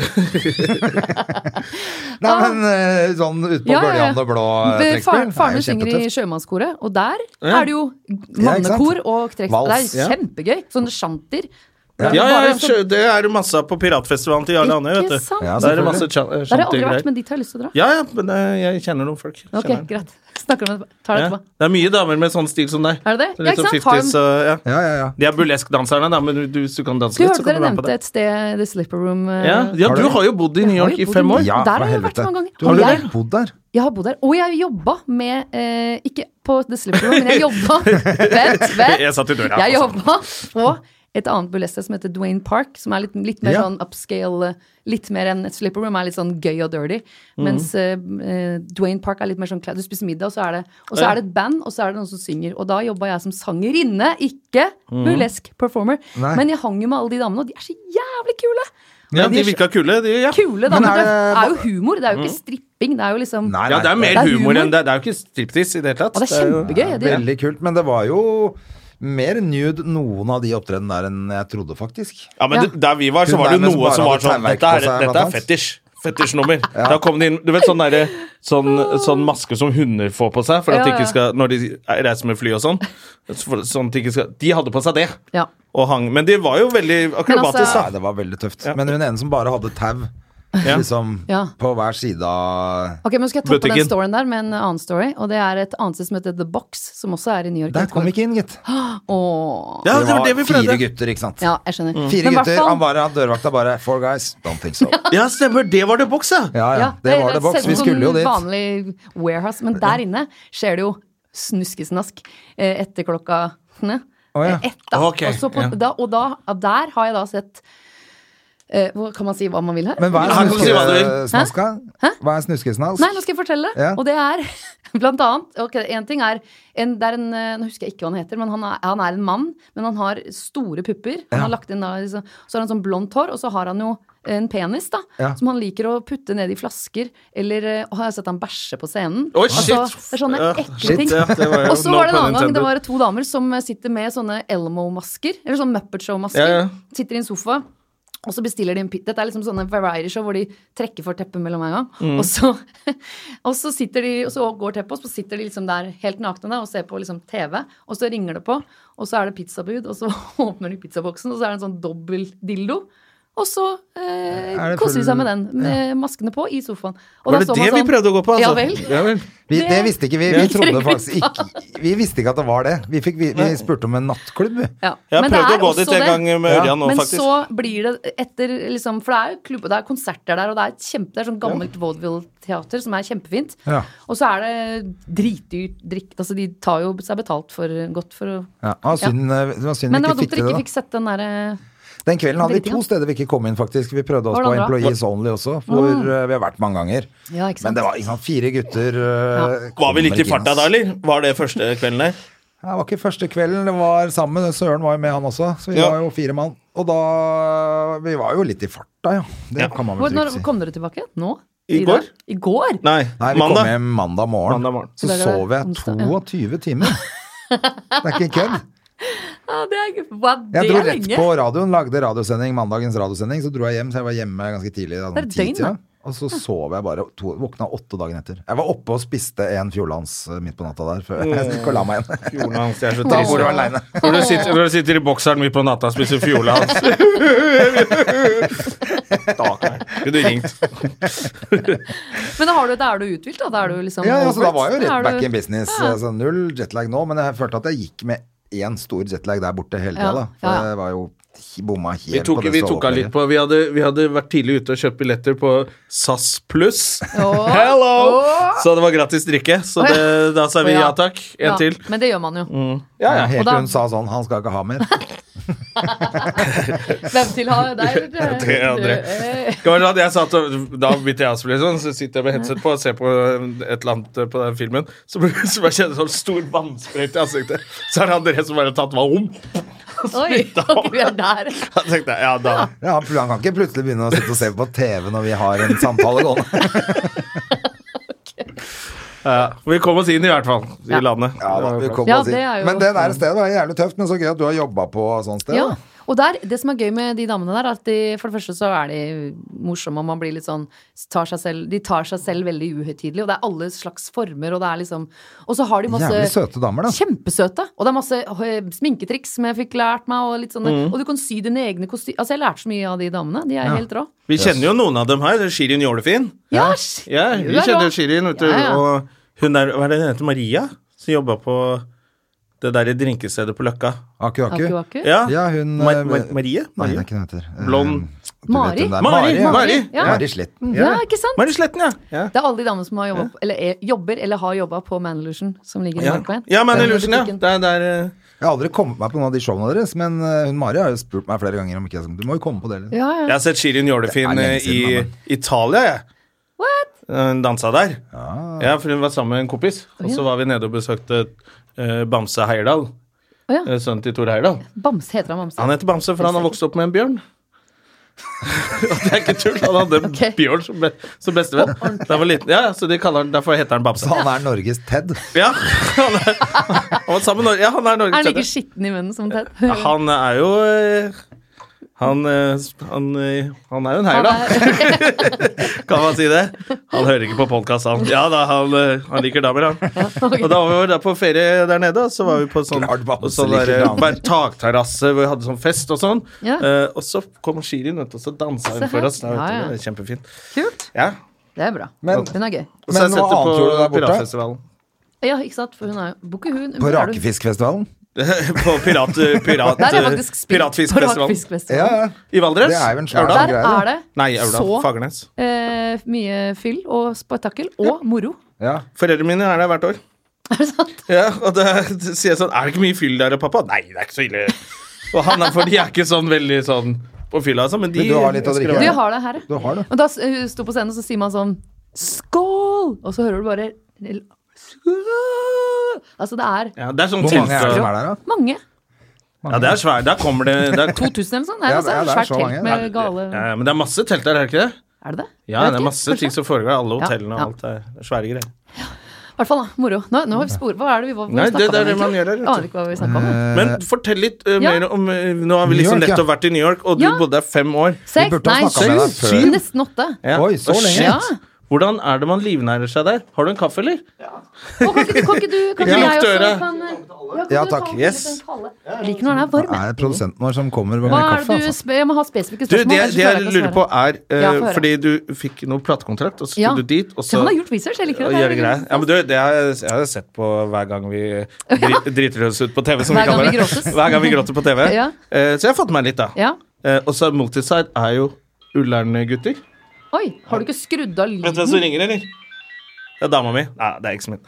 Nei,
Ah.
men eh, sånn ute på
Ja, ja, ja.
Gøljan og blå eh,
Det-
trekkspill.
Faren, faren
er
min
jo
synger i
kjempetøft.
sjømannskoret, og der
Ja.
er det jo
Ja, ikke sant?
mannekor og trekkspill.
Vals,
Det er kjempegøy. Sånne sjanter.
Ja, ja, ja, kjø- det er det masse av på piratfestivalen til Jarle Andøy,
sånn- Ikke
vet du.
sant?
Ja,
Der er det masse
selvfølgelig.
chan-
Der
eh,
har jeg aldri vært,
shanty-greier.
men dit har jeg lyst til å dra.
Ja, ja, men eh, jeg kjenner noen folk.
Ok,
Kjenner.
greit. Snakker om det. Tar det
Ja.
etterpå.
Det er mye damer med sånn stil som deg.
Er det det?
Så
Ja,
Litt
ikke
sånn
sant? Har
50s, eh, ja.
Ja, ja, ja.
De er burleskdanserne, da, men du, du, hvis du kan danse
Du
litt,
hørte
så kan
dere
du være med
nevnte
på det.
et sted, The Slipper Room. eh,
Ja, ja
Har
du
du-
har jo bodd i New York i
Jeg har jo bodd
fem år.
New York.
Ja,
Der
fra
har jeg vært
helvete.
mange ganger.
Har
Og
du
jeg-
det? bodd der?
Jeg har bodd der, og jeg jobba med eh, Ikke på The Slipper Room, men jeg jobba Vent, vent.
Jeg satt i døra.
Jeg
altså.
jobba på et annet burlesque som heter Dwayne Park, som er litt, litt mer
Ja.
sånn upscale, eh, litt mer enn et slipper room, er litt sånn gøy og dirty.
Mm.
Mens eh, eh, Dwayne Park er litt mer sånn kla- Du spiser middag, og så er det, og så
Ja.
er det et band, og så er det noen som synger. Og da jobba jeg som sangerinne, ikke
Mm.
burlesk performer.
Nei.
Men jeg hang jo med alle de damene, og de er så jævlig kule!
Ja,
Men
de virka kule. De, ja.
Kule damer.
Men er
Det
det- Mm.
er jo humor, det er jo ikke stripping, det er jo liksom
Nei,
ja, det er mer
Det er humor.
humor enn det. Det er jo ikke striptease i det hele tatt.
Og det er
jo-
kjempegøy.
Ja,
det er-
Veldig kult. Men det var jo mer nude noen av de opptredenene der enn jeg trodde, faktisk.
Ja,
Ja.
men det- der vi var, så
Hun
var det
der
jo
med
noe
som
som var
bare hadde
sånn
tauverk
Dette
på
er,
seg,
dette
blant
er
annet.
fetisj. Fetisjnummer. Da kom det inn Du vet sånn derre sånn, sånn maske som hunder får på seg for at
Ja,
de
ja.
ikke skal, når de reiser med fly og sånn. For, sånn at de, ikke skal, de hadde på seg det
Ja.
og hang. Men de var jo veldig akrobatiske.
altså-
da.
Nei, det var veldig tøft. Men hun ene som bare hadde tau
Ja.
liksom,
Ja.
på hver side av
Ok, men Skal jeg toppe
Butikken.
den storyen der med en annen story? Og det er et annet sted som heter The Box, som også er i New York.
Der kom vi ikke inn, gitt.
Ah, Åh.
Ja, det var det vi
fire
prøvde.
gutter, ikke sant.
Ja, jeg skjønner.
Mm. Fire
Men
gutter,
hvertfall-
han bare, han dørvakta bare Four guys, don't think so.
Ja, stemmer. Det var det boks, ja.
Ja, ja, det var det boks. Vi
sånn
skulle jo dit.
Vanlig warehouse, men der inne skjer det jo snuskesnask eh, etter klokka ne?
Å, ja.
Eh, ett, da.
Ok,
og, så på,
ja.
da, og da, ja, der har jeg da sett eh, hvor- Kan man si hva man vil her?
Men hva
Her
er
kan du si hva du vil.
snuskesnaska? Hva
Nei,
er
nå
snuskesnask?
skal jeg fortelle.
Ja.
Og det er blant annet ok, En ting er en, Det er en eh, Nå husker jeg ikke hva han heter, men han er, han er en mann. Men han har store pupper. Han har lagt inn da, liksom, så har han sånn blondt hår, og så har han jo en penis da,
Ja.
som han liker å putte ned i flasker. Eller eh, og har jeg sett han bæsje på scenen.
Oi,
Altså, det er sånne
Ja,
ekle ting.
Ja, det var jo
Og så
no
var det en
pun
annen gang, det
intended.
var to damer som eh, sitter med sånne Elmo-masker, eller sånn Muppet Show-masker,
Ja, ja.
sitter i en sofa, og så bestiller de en pizza. Dette er liksom sånne variety show hvor de trekker for teppet mellom hver gang.
Mm.
Og, så, og så sitter de, og så går teppet, og så sitter de liksom der helt nakne da, og ser på liksom TV, og så ringer det på, og så er det pizzabud, og så åpner de pizzaboksen, og så er det en sånn dobbel dildo. Og så eh,
Er det
koser de
full-
seg med den, med maskene på, i sofaen. Og
Var
da
det
så
det
man
vi
sånn-
prøvde å gå på, altså?
Ja vel.
Ja, vel.
Vi, det
Det-
visste ikke vi. Vi
Det trenger
trodde
vi
faktisk ikke Vi visste ikke at det var det. Vi, fikk, vi, vi spurte om en nattklubb, vi.
Ja.
Jeg
Men det
prøvde
er
å gå
også
dit en
det-
gang med
Ja.
Ørjan nå,
Men
faktisk.
så blir det etter liksom, For det er jo klubb, og det er konserter der, og det er et kjempe, det er sånn gammelt vaudeville-teater som er kjempefint.
Ja.
Og så er det dritdyrt drikk. Altså, de tar jo seg betalt for godt for å
Ja, ah, synd, eh, Det var synd
Men det
vi
var dumt
ikke fikk
dere
til
ikke
det,
fikk sett den eh, derre
da. Den kvelden hadde vi
Driting,
to
ass.
steder vi ikke kom inn, faktisk. Vi prøvde oss
Var
på
det bra?
Employees Only også, hvor eh, vi har vært mange ganger.
Mm. Ja, ikke sant?
Men det var ikke sant, fire gutter eh,
Var vi
kommer
litt i
ikke inn,
farta
ass.
da, eller? Var det første kvelden der?
Ja, Det var ikke første kvelden, det var sammen. Søren var jo med, han også. Så vi
Ja.
var jo fire mann. Og da Vi var jo litt i farta, ja. Det
Ja.
kan man
Hvor,
vel
når
trygt si.
kom dere tilbake? Nå?
I
dag?
går?
I går?
Nei,
Nei, vi kom
mandag.
hjem mandag morgen.
Mandag morgen.
Så
I dag er det
sov jeg
onsdag,
22 timer. Det er ikke kødd.
Ja, det er, hva, det
Jeg dro
er
rett
lenge.
på radioen, lagde radiosending, mandagens radiosending. Så dro jeg hjem, så jeg var hjemme ganske tidlig. da,
Det er
sånn ti-tida.
døgn, da.
Og så sov jeg bare to, Våkna åtte dagen etter. Jeg var oppe og spiste en Fjordlands eh, midt på natta der før jeg gikk og la meg igjen.
Fjorden hans, jeg er så
Da
Mm. trist.
bor du aleine.
Når du, sitter, når du sitter i bokseren midt på natta og spiser fjola hans Da kunne du ringt.
Men da, har du, da er du uthvilt, da? Da er du liksom
Ja, ja, så da
over
var jeg
it.
jo
Da er
rett back
du-
in business.
Ja.
Så null jetlag nå, men jeg følte at jeg gikk med én stor jetlag der borte hele
Ja,
tida, da.
ja, ja.
For jeg var jo hi- bomma helt
Vi tok,
på det
vi tok av
stålopplegget.
litt på vi hadde, vi hadde vært tidlig ute og kjøpt billetter på SAS Pluss.
Åh.
Hello!
Åh.
Så det var gratis drikke. Så
Å, ja.
det, da sa vi
Å, ja.
ja takk. En
Ja,
til.
Men det gjør man jo.
Ja,
Ja,
ja.
Helt
Og da-
til hun sa sånn 'han skal ikke ha mer'.
Hvem til har deg? eller?
Det er André.
Eh,
Det var sånn at jeg satt og, da begynte jeg å spille sånn, så sitter jeg med headset på og ser på et eller annet på den filmen, så, blir- så bare kjenner jeg sånn stor vannsprøyte i ansiktet. Så er det André som bare har tatt meg om.
Oi, ok, vi er der.
Da tenkte jeg, ja da.
Ja, han han kan ikke plutselig begynne å sitte og se på TV når vi har en samtale gående.
Ja, vi kom oss inn i hvert fall, i
Ja.
landet.
Ja, da, vi kom
Ja,
oss inn.
det er jo-
Men det der stedet var jævlig tøft, men så gøy at du har jobba på sånn sted.
Ja.
da.
Og der, det som er gøy med de damene der, er at de, for det første så er de morsomme, og man blir litt sånn tar seg selv, De tar seg selv veldig uhøytidelig, og det er alle slags former, og det er liksom Og så har de masse
Jævlig søte damer, da.
Kjempesøte. Og det er masse øh, sminketriks som jeg fikk lært meg, og litt sånne
Mm.
Og du kan sy dine egne kostymer Altså, jeg lærte så mye av de damene. De er helt rå.
Vi kjenner jo noen av dem her. Shirin Jålefin.
Ja,
Ja,
Hun
vi
er rå.
kjenner jo Shirin, vet du.
Ja, ja.
Og hun der, hva er det hun heter, Maria? Som jobba på det derre drinkestedet på Løkka.
Aku Aku.
Aku, aku.
Ja,
Ja, hun
Ma
eh,
Ma Marie?
Nei, det
Marie?
er ikke hun heter. Eh,
Blond.
du vet
Mari.
hvem det er.
Mari,
Mari,
Mari.
Ja.
Mari Sletten.
Ja, ikke sant?
Marie Sletten, ja. ja.
Det er alle de damene som har jobba, eller er, jobber eller har jobba på Manillusion, som ligger i
Ja,
Markveien.
ja men
Den
Illusion, ja.
butikken.
Det er der eh,
Jeg har aldri kommet meg på noen av de showene deres, men eh, hun Mari har jo spurt meg flere ganger om ikke jeg skal Du må jo komme på det. Eller?
Ja, ja.
Jeg har sett Shirin Jålefin
Det er
eh,
lenge
i
siden, mamma.
Italia, jeg.
What?
Hun dansa der.
Ja.
Ja, for hun var sammen med en kompis. Og så var vi nede og besøkte eh, Bamse Heyerdahl.
Å, ja.
eh, Sønnen til Tor Heyerdahl.
Bamse heter han Bamse.
Han heter Bamse, for han har vokst opp med en bjørn. Og det er ikke tull. Han hadde en
Ok.
bjørn som, be som bestevenn da han var liten. Ja, ja, så de kaller han, Derfor heter han Bamse.
Så han er Norges Ted.
Ja, han er, han var sammen med Norge. Ja, han er
Er han
Norges
like
tredje.
skitten i munnen som Ted?
Ja, han er jo eh, han, eh, han, eh, han er jo en Heyerdahl.
er-
Kan man si det? Han hører ikke på podkast, han. Ja da, han, eh, han liker damer, han. Og da var vi der på ferie der nede, og så var vi på sånn,
Klart Bamse
og sånn
liker
der,
damer.
på en takterrasse hvor vi hadde sånn fest og sånn.
Ja.
Eh, og så kom Shirin, vet du, og så dansa
Se
hun
her.
for oss. Da, vet
Ja, ja.
du, det er kjempefint.
Kult.
Ja.
Det er bra.
Men-
hun er gøy.
Og
Men
så har jeg sett
noe
det
annet gjorde du der
på
borte?
piratfestivalen.
Ja, ikke sant? For hun er jo Bukke hun.
På
er du-
Rakefiskfestivalen.
på pirat, eh, pirat,
Der har jeg faktisk spilt på
piratfiskfestivalen.
Ja,
Rakfiskfestivalen.
ja.
I Valdres?
Det er jo en svær
Aurdal?
dag.
Der
Greia,
er det
Nei, Aurdal.
så
Fagernes.
eh, mye fyll og spetakkel og moro.
ja.
Foreldrene mine er der hvert år. Ja, og da sier jeg sånn Er det ikke mye fyll der, pappa? Nei, det er ikke så ille. Og han er, for de er ikke sånn veldig sånn på fylla, altså. Men de
Men du har litt å
elsker
Du
drikke.
være-
har det her.
Du har det.
Og da s- hun sto på scenen, og så sier man sånn Skål! Og så hører du bare Skål! Altså, det er
Ja, det er sånn
Hvor mange er det
telt,
som
og-
er der, da?
mange.
Ja, det er svært. Der kommer det, det er
2000 eller sånn. Det er
Ja,
altså
det er- det er
svært
så mange.
telt med gale
ja, ja, Men det er masse telt der, er det ikke det?
Er det det? Jeg
Ja,
vet
det er
ikke,
masse
kanskje.
ting som foregår i alle
Ja,
hotellene og
ja.
alt det er svære greier.
I hvert fall, da. Moro. Nå, nå har vi spor. Hva er det vi var,
Nei,
snakket
det- det er
om
det man gjør her, vet
Jeg aner ikke hva vi snakka om.
Mm.
Men fortell litt eh,
Ja.
mer om eh, Nå har vi
New
liksom
York, ja.
nettopp vært i New York, og du
Ja.
bodde der fem år.
Vi
Seks,
burde
nei,
ha snakka med deg
syv,
før.
sju, nesten åtte.
Ja.
Oi, så
Og
lenge.
shit,
Ja.
Hvordan er det man livnærer seg der? Har du en kaffe, eller?
Å, kan ikke du, kan ikke du, kan
Ja.
ikke jeg også
Døra.
kan, eh, ja, kan
Ja,
du
takk.
ta en
Yes.
liten kalle? Jeg liker når den er varm.
Det er produsenten vår som kommer med
Hva er det
kaffe.
du
Altså.
spør? Jeg må ha spesifikke
Du, det,
spørsmål. ellers klarer
det jeg
jeg ikke å
lurer
svare.
på, er
Ja,
eh,
få høre.
Fordi du fikk noe platekontrakt, og så skulle
Ja.
du dit, og
Ja,
så
Han har gjort research, jeg liker det.
og
liksom.
gjøre
det. er
greier. Ja, men du, det har jeg, jeg har jo sett på hver gang vi dri- driter oss ut på TV, som
Hver
vi
gang
kaller
vi
det.
gråtes.
Hver gang vi gråter på TV.
Ja.
Eh, så jeg har fått meg litt, da.
Ja.
Eh, og så Multiside er jo Ullern-gutter.
Oi, har du ikke skrudd av
Vet du
lyden?
hvem som ringer, eller? Det er Mhm. dama mi. Nei, det er eksen min.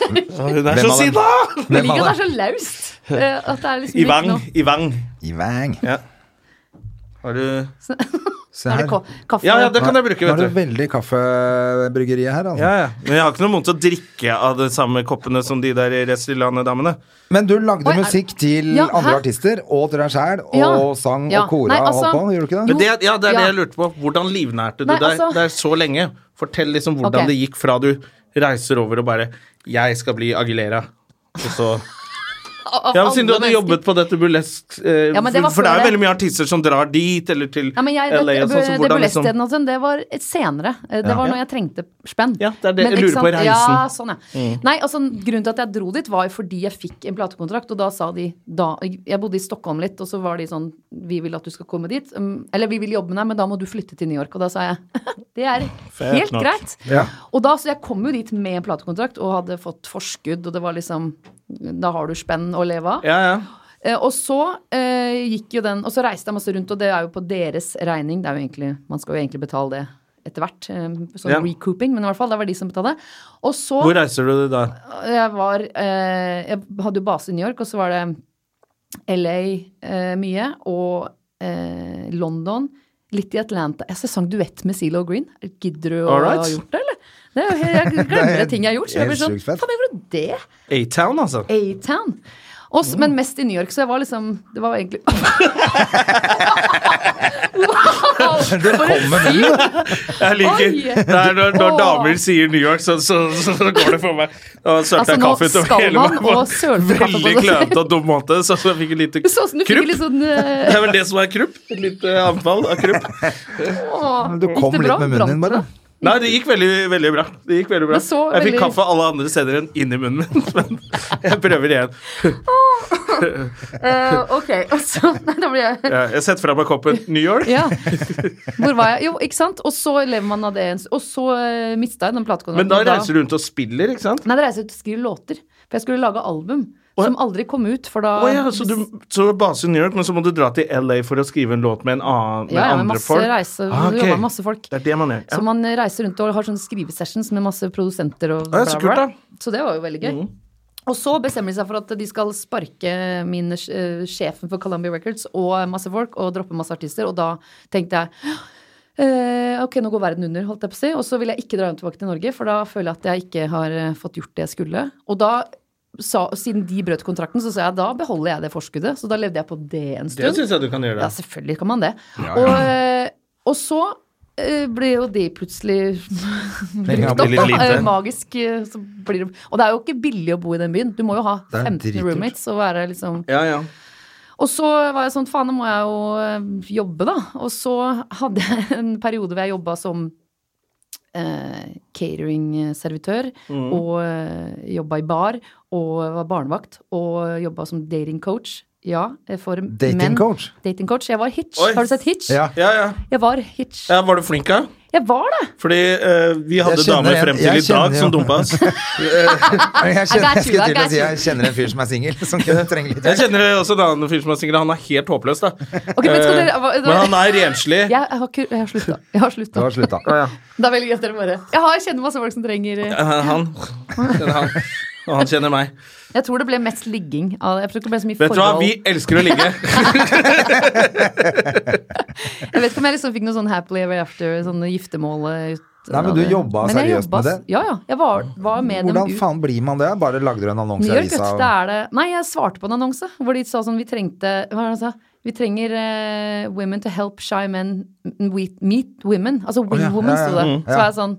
Hun er
Hvem
så
av dem?
sinna!
Jeg
Hvem
liker
av
at det er
dem?
så laust. Eh, at det er liksom
I
blitt
Vang.
noe-
I Vang.
I vang.
Ja. Har du
Se
Er
her.
det ko- kaffe?
Ja, ja, det kan jeg
Nå
bruke,
er
vet
det
du.
veldig kaffebryggeriet her. Altså.
Ja, ja. Men jeg har ikke noe vondt å drikke av de samme koppene som de der Restylane-damene.
Men du lagde
Oi, er-
musikk til
Ja,
andre
hæ?
artister, og til deg sjæl, og
Ja.
sang
Ja.
og kora
Nei, altså-
og holdt på, gjorde du ikke det?
Men det, ja, det er det
Ja.
jeg lurte på. Hvordan livnærte du
Nei,
deg
altså-
der så lenge? Fortell liksom hvordan
Ok.
det gikk fra du reiser over og bare 'Jeg skal bli Agilera', og så
Av-
Ja, men
av
Siden du
alle
hadde
mennesker.
jobbet på dette burlesk eh,
Ja, men det var
For for det
før
er jo
det.
veldig mye artister som drar dit, eller til
ja, men jeg,
LA
det,
og sånn, så
det
hvordan liksom
burlesksteden og sånn, det var et senere. Eh, Det var når jeg trengte spenn.
Ja, det er det jeg
ikke
lurer
sant-
på i reisen. Mm.
Ja, sånn, ja. Nei, altså, grunnen til at jeg dro dit, var jo fordi jeg fikk en platekontrakt, og da sa de da, Jeg bodde i Stockholm litt, og så var de sånn Vi vil at du skal komme dit. um, Eller vi vil jobbe med deg, men da må du flytte til New York. Og da sa jeg det er helt
nok.
greit.
Ja.
Og da, så jeg kom jo dit med en platekontrakt og hadde fått forskudd, og det var liksom Da har du spenn å leve av.
Ja, ja.
Eh, og så eh, gikk jo den, og så reiste jeg masse rundt, og det er jo på deres regning. Det er jo egentlig, man skal jo egentlig betale det etter hvert. eh, Sånn
Ja.
recouping, men i hvert fall, det var de som betalte. Og så
Hvor reiser du da?
jeg var eh, Jeg hadde jo base i New York, og så var det LA eh, mye, og eh, London. Litt i Atlanta. Jeg sang duett med CeeLo Green. Gidder du å
Alright.
ha gjort det, eller? Det er jo, helt- jeg glemmer
helt-
det ting jeg har gjort. Så jeg
helt
blir sånn,
sjukt fett.
faen, gjorde du det?
A-Town, altså.
A-Town. Og s- Men mest i New York, så jeg var liksom Det var egentlig Wow!
Dere kommer med det!
Jeg liker
Oi!
det er når, når
Åh.
damer sier New York, så, så, så, går det for meg. Da
Altså,
sølte jeg
nå
kaffe utover
skal
hele
man
meg.
og sølte kaffe på
Veldig
seg.
klønete og dum måte, så så jeg fikk et lite
Sånn som du fikk
krupp.
litt sånn
Det
eh,
er vel det som er krupp? Et lite anfall av krupp.
åh,
Du
gikk
kom
det bra?
litt med munnen din,
Brant
bare.
det?
Nei, det gikk veldig, veldig bra. Det gikk veldig bra.
Det så
Jeg fikk
veldig-
kaffe alle andre steder enn inni munnen min, men jeg prøver igjen.
Eh, ok. Og
altså,
så Nei, da blir jeg
Ja, Jeg setter fra meg koppen New York.
ja. Hvor var jeg? Jo, ikke sant? Og så lever man av det. en s- Og så uh, mista jeg den platekontrakten.
Men da reiser du rundt og spiller, ikke sant?
Nei, da reiser jeg ut og skriver låter. For jeg skulle lage album. Som aldri kom ut, for da
Å ja, så du så er base i New York, men så må du dra til LA for å skrive en låt med en annen med
Ja, ja, med
andre
masse
folk?
reise-
Ah,
du
ok.
jobber med masse folk.
Det er det man gjør.
Så
Ja.
man reiser rundt og har sånne skrivesessions med masse produsenter og
Ja, så kult, da. Mm.
Så det var jo veldig gøy. Og så bestemmer de seg for at de skal sparke min eh, sjefen for Columbia Records og masse folk og droppe masse artister, og da tenkte jeg «Eh, ok, nå går verden under, holdt jeg på å si. Og så vil jeg ikke dra hjem tilbake til Norge, for da føler jeg at jeg ikke har eh, fått gjort det jeg skulle. Og da sa, siden de brøt kontrakten, så sa jeg da beholder jeg det forskuddet. Så da levde jeg på det en stund.
Det syns jeg du kan gjøre.
Ja, selvfølgelig kan man det. Og, og så eh, blir jo de plutselig brukt
blir
opp.
litt
da.
lite.
Eh, Magisk. eh, Så blir det, og det er jo ikke billig å bo i den byen. Du må jo ha
Det er
15
dritdyrt.
roommates og være liksom
Ja, ja.
Og så var jeg sånn, faen, nå må jeg jo eh, jobbe, da. Og så hadde jeg en periode hvor jeg jobba som eh, cateringservitør
Mm.
og eh, jobba i bar og var barnevakt og jobba som datingcoach. Ja, eh, for
Dating
menn.
coach?
Dating coach. Jeg var Hitch.
Oi.
Har du sett Hitch?
Ja.
ja, ja.
Jeg var Hitch.
ja var du flink, da?
Jeg var det!
Fordi eh, vi hadde
Jeg kjenner
damer
en-
frem til
jeg
i dag
kjenner
som
jo-
dumpa oss.
Jeg kjenner,
I
jeg,
got you,
skulle
I
til å
got
si,
you.
jeg kjenner en fyr som er singel, som kunne trenge litt
Jeg kjenner også en annen fyr som er singel. Han er helt håpløs, da.
Ok, men skal dere-
Eh,
hva-
men han er renslig.
Jeg, jeg har, ikke- jeg har slutta. Jeg har
Du
slutta.
har slutta.
Det er veldig gøy at dere bare Jeg, har, jeg kjenner masse folk som trenger eh,
Eh, Han kjenner han. Og han kjenner meg.
Jeg tror det ble mest ligging. av det. Jeg tror ikke det ble så mye
Vet du hva,
forhold.
vi elsker å ligge.
Jeg vet ikke om jeg liksom fikk noe sånn happily ever after, sånne giftermål eh, ut
Nei, men
av
du
det.
jobba
Men jeg
seriøst med
jobba-
det?
Ja, ja. Jeg var, var med
Hvordan
dem ut.
faen blir man det? Bare lagde du en annonse
New
i
York,
avisa?
vet du, det er det Nei, jeg svarte på en annonse hvor de sa sånn Vi trengte Hva var det han sa? Vi trenger eh, women to help shy men meet, meet women. Altså win
ja,
women,
ja, Mm.
sto det.
ja,
Så var jeg sånn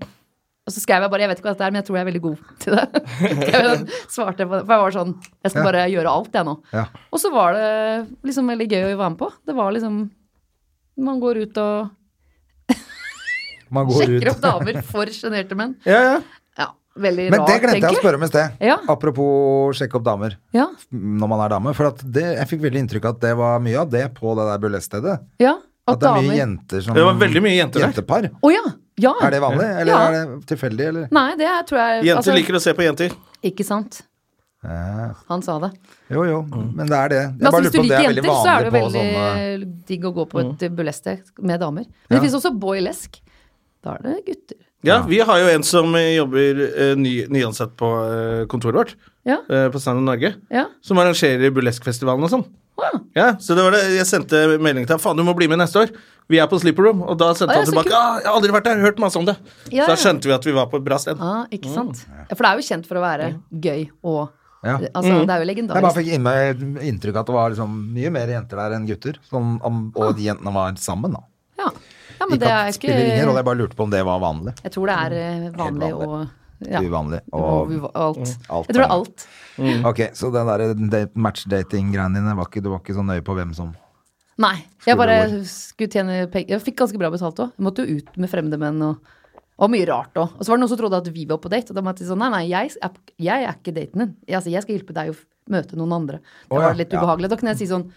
og så skrev jeg bare Jeg vet ikke hva dette er, men jeg tror jeg er veldig god til det. Skrev jeg sånn, svarte jeg på det, For jeg var sånn Jeg skal bare gjøre alt, jeg nå.
Ja.
Og så var det liksom veldig gøy å være med på. Det var liksom Man går ut og
Man går
Sjekker
ut.
opp damer for sjenerte menn.
Ja, ja.
Ja, veldig
Men
rart,
det glemte jeg å
egentlig.
spørre om i sted.
Ja.
Apropos sjekke opp damer
Ja,
når man er dame. For at det, jeg fikk veldig inntrykk av at det var mye av det på det der burleskstedet.
ja.
At det er mye
damer-
jenter som
Det var veldig mye jenter der.
Jentepar.
Å ja! Ja.
Er det vanlig, eller
Ja.
er det tilfeldig, eller?
Nei, det er- tror jeg
Jenter
altså,
liker å se på jenter.
Ikke sant? Han sa det.
Jo, jo,
Mm.
men det er det.
Men
Jeg
altså,
bare
hvis
lurer
du
på om det
liker
er veldig
jenter, så er det
vanlig
jo
på
veldig
sånne
Mm.
digg å gå på et burlesque med damer. Men det
Ja.
fins også boylesk. Da er det gutter.
Ja, vi har jo en som eh, jobber eh, ny, nyansatt på eh, kontoret vårt,
Ja.
eh, på Stand Up Norge,
Ja.
som arrangerer burleskfestivalen og sånn.
Å, ja.
Ja, så det var det. Jeg sendte melding til ham. Faen, du må bli med neste år. Vi er på Sleeper Room. Og da sendte
Å, ja,
han
så
tilbake.
kult.
Ah, jeg har aldri vært der, hørt masse om det.
Ja,
Så da
ja.
skjønte vi at vi var på et bra sted.
Ah, ikke sant? Ja, For det er jo kjent for å være gøy og
Ja.
Altså,
Mm.
det er jo
Jeg bare
legendarisk.
fikk inn meg inntrykk av at det var liksom mye mer jenter der enn gutter. Sånn, om- og de jentene var sammen, da.
Ja. ja, men
Ikke
det
at
er
det spiller ingen rolle,
ikke
jeg bare lurte på om det var vanlig.
Jeg tror det er eh, vanlig
vanlig.
og ja.
Uvanlig
Og
og
uva- alt.
Mm. alt
Jeg tror det er
er-
alt.
Mm.
Ok, så den der date- matchdating-greiene dine var ikke, du var ikke så nøye på hvem som
Nei. Jeg bare
Skulle
skulle tjene penger. Jeg fikk ganske bra betalt òg. Måtte jo ut med fremmede menn og, og mye rart òg. Og så var det noen som trodde at vi var på date. Og da måtte jeg si sånn Nei, nei, jeg er, jeg er ikke daten din. Jeg, altså, jeg skal hjelpe deg å f- møte noen andre.
Å,
Det
ja.
var litt
Ja.
ubehagelig. Da kunne jeg si sånn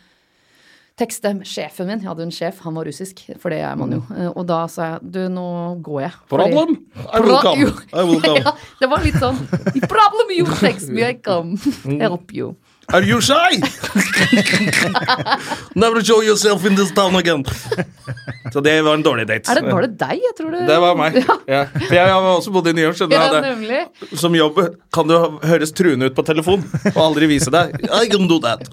Tekste sjefen min. Jeg hadde jo en sjef, han var russisk, for det er man jo.
Mm.
Eh, Og da sa jeg du, nå går jeg. Fordi-
Problem? I will
Pro-
come.
jo.
I will come.
ja, det var litt sånn Problem you text me, I come. Help you.
Are you shy? Never show yourself in this town again. Så det var en dårlig date.
Er det, var det deg, jeg tror det
Det var meg.
Ja,
Ja. For jeg har også bodd i New York, så da
ja
hadde jeg-
nemlig.
som jobb kan du høres truende ut på telefon og aldri vise deg. I can do that.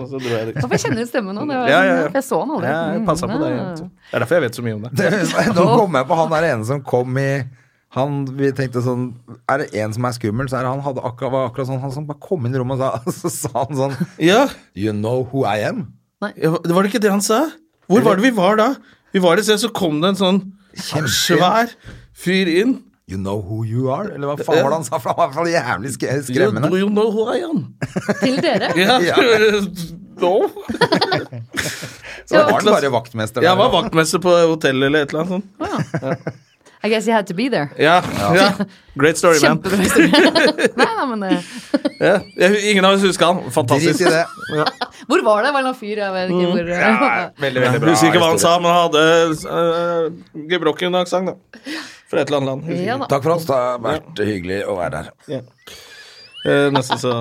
Og så dro jeg dit.
Hvorfor kjenner du stemmen nå? Det var,
Ja, ja, ja.
for Jeg så han aldri.
Ja, jeg passa på det.
Mm, ja.
Det er derfor jeg vet så mye om det.
Nå kom jeg på han der ene som kom i han, vi tenkte sånn Er det en som er skummel, så er det han hadde akkurat, var akkurat sånn Han som bare kom inn i rommet og sa, så sa han sånn
Ja,
You know who I am?
ja, Var det ikke det han sa? Hvor var det vi var da? Vi var et sted, så kom det en sånn svær fyr inn.
You know who you are? Eller hva faen var det han sa? For han var i hvert fall jævlig sk-
You,
skremmende.
do you know who I am?
Til dere.
Ja.
Ja.
No.
Så var han bare vaktmester. der.
Jeg var vaktmester på hotellet eller et eller annet sånt.
I guess you had to be there.
Ja, ja. Great story, man.
Kjempebra historie. Nei, nei, men eh,
Ja. Jeg- Ingen av oss husker han.
Drit
Fantastisk.
i det.
Hvor var det? Var det en fyr? Jeg vet
Mm.
ikke hvor.
Ja, veldig, veldig
Jeg
bra.
husker ikke hva han
historie.
sa, men han hadde uh, gebrokken-aksent, da. Fra et eller annet land. Husker ikke.
Ja da.
Takk for oss, det har vært hyggelig å være her.
Eh, nesten så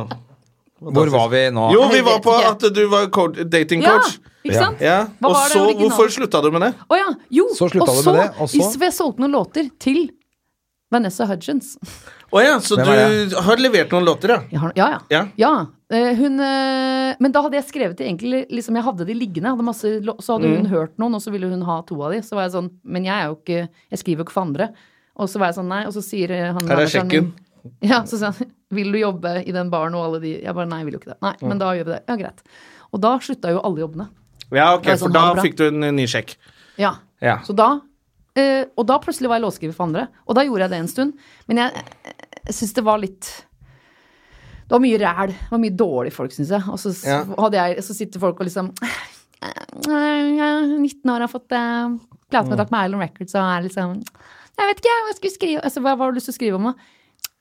Hvor var vi nå?
Jo, vi var på
Jeg
at
vet
du var coach, dating
Ja,
coach.
ikke sant?
Ja.
Hva
Og
var det
så,
originale?
hvorfor slutta du med det?
Å ja. Jo,
Så slutta
og
du med
så,
det, og så?
Is- jeg solgte noen låter til Vanessa Hudgens.
Å ja, så
Hvem er
du har levert noen låter, ja.
Jeg har, ja, ja.
Ja.
ja. Eh, hun, eh, men da hadde jeg skrevet det egentlig liksom, Jeg hadde de liggende. jeg Hadde masse, lå- så hadde hun hørt noen, og så ville hun ha to av de. Så var jeg sånn Men jeg er jo ikke Jeg skriver jo ikke for andre. Og så var jeg sånn Nei. Og så sier eh, han
Her er
manageren
sjekken.
min, Ja, så sa han Vil du jobbe i den baren og alle de Jeg bare Nei, jeg vil jo ikke det. Nei, men da gjør vi det. Ja, greit. Og da slutta jo alle jobbene.
Ja, ok,
Det er
For
sånn
da
halvbra.
fikk du en ny sjekk.
Ja.
Ja.
Så da eh, Og da plutselig var jeg låtskriver for andre. Og da gjorde jeg det en stund. Men jeg, jeg syns det var litt Det var mye ræl. Det var mye dårlige folk, syns jeg. Og så, s-
Ja.
hadde jeg, så sitter folk og liksom Jeg er 19 år, har fått eh,
Mm.
platekontrakt med Island Records og er liksom Jeg vet ikke hva jeg skulle skrive altså, Hva hva har du lyst til å skrive om, da?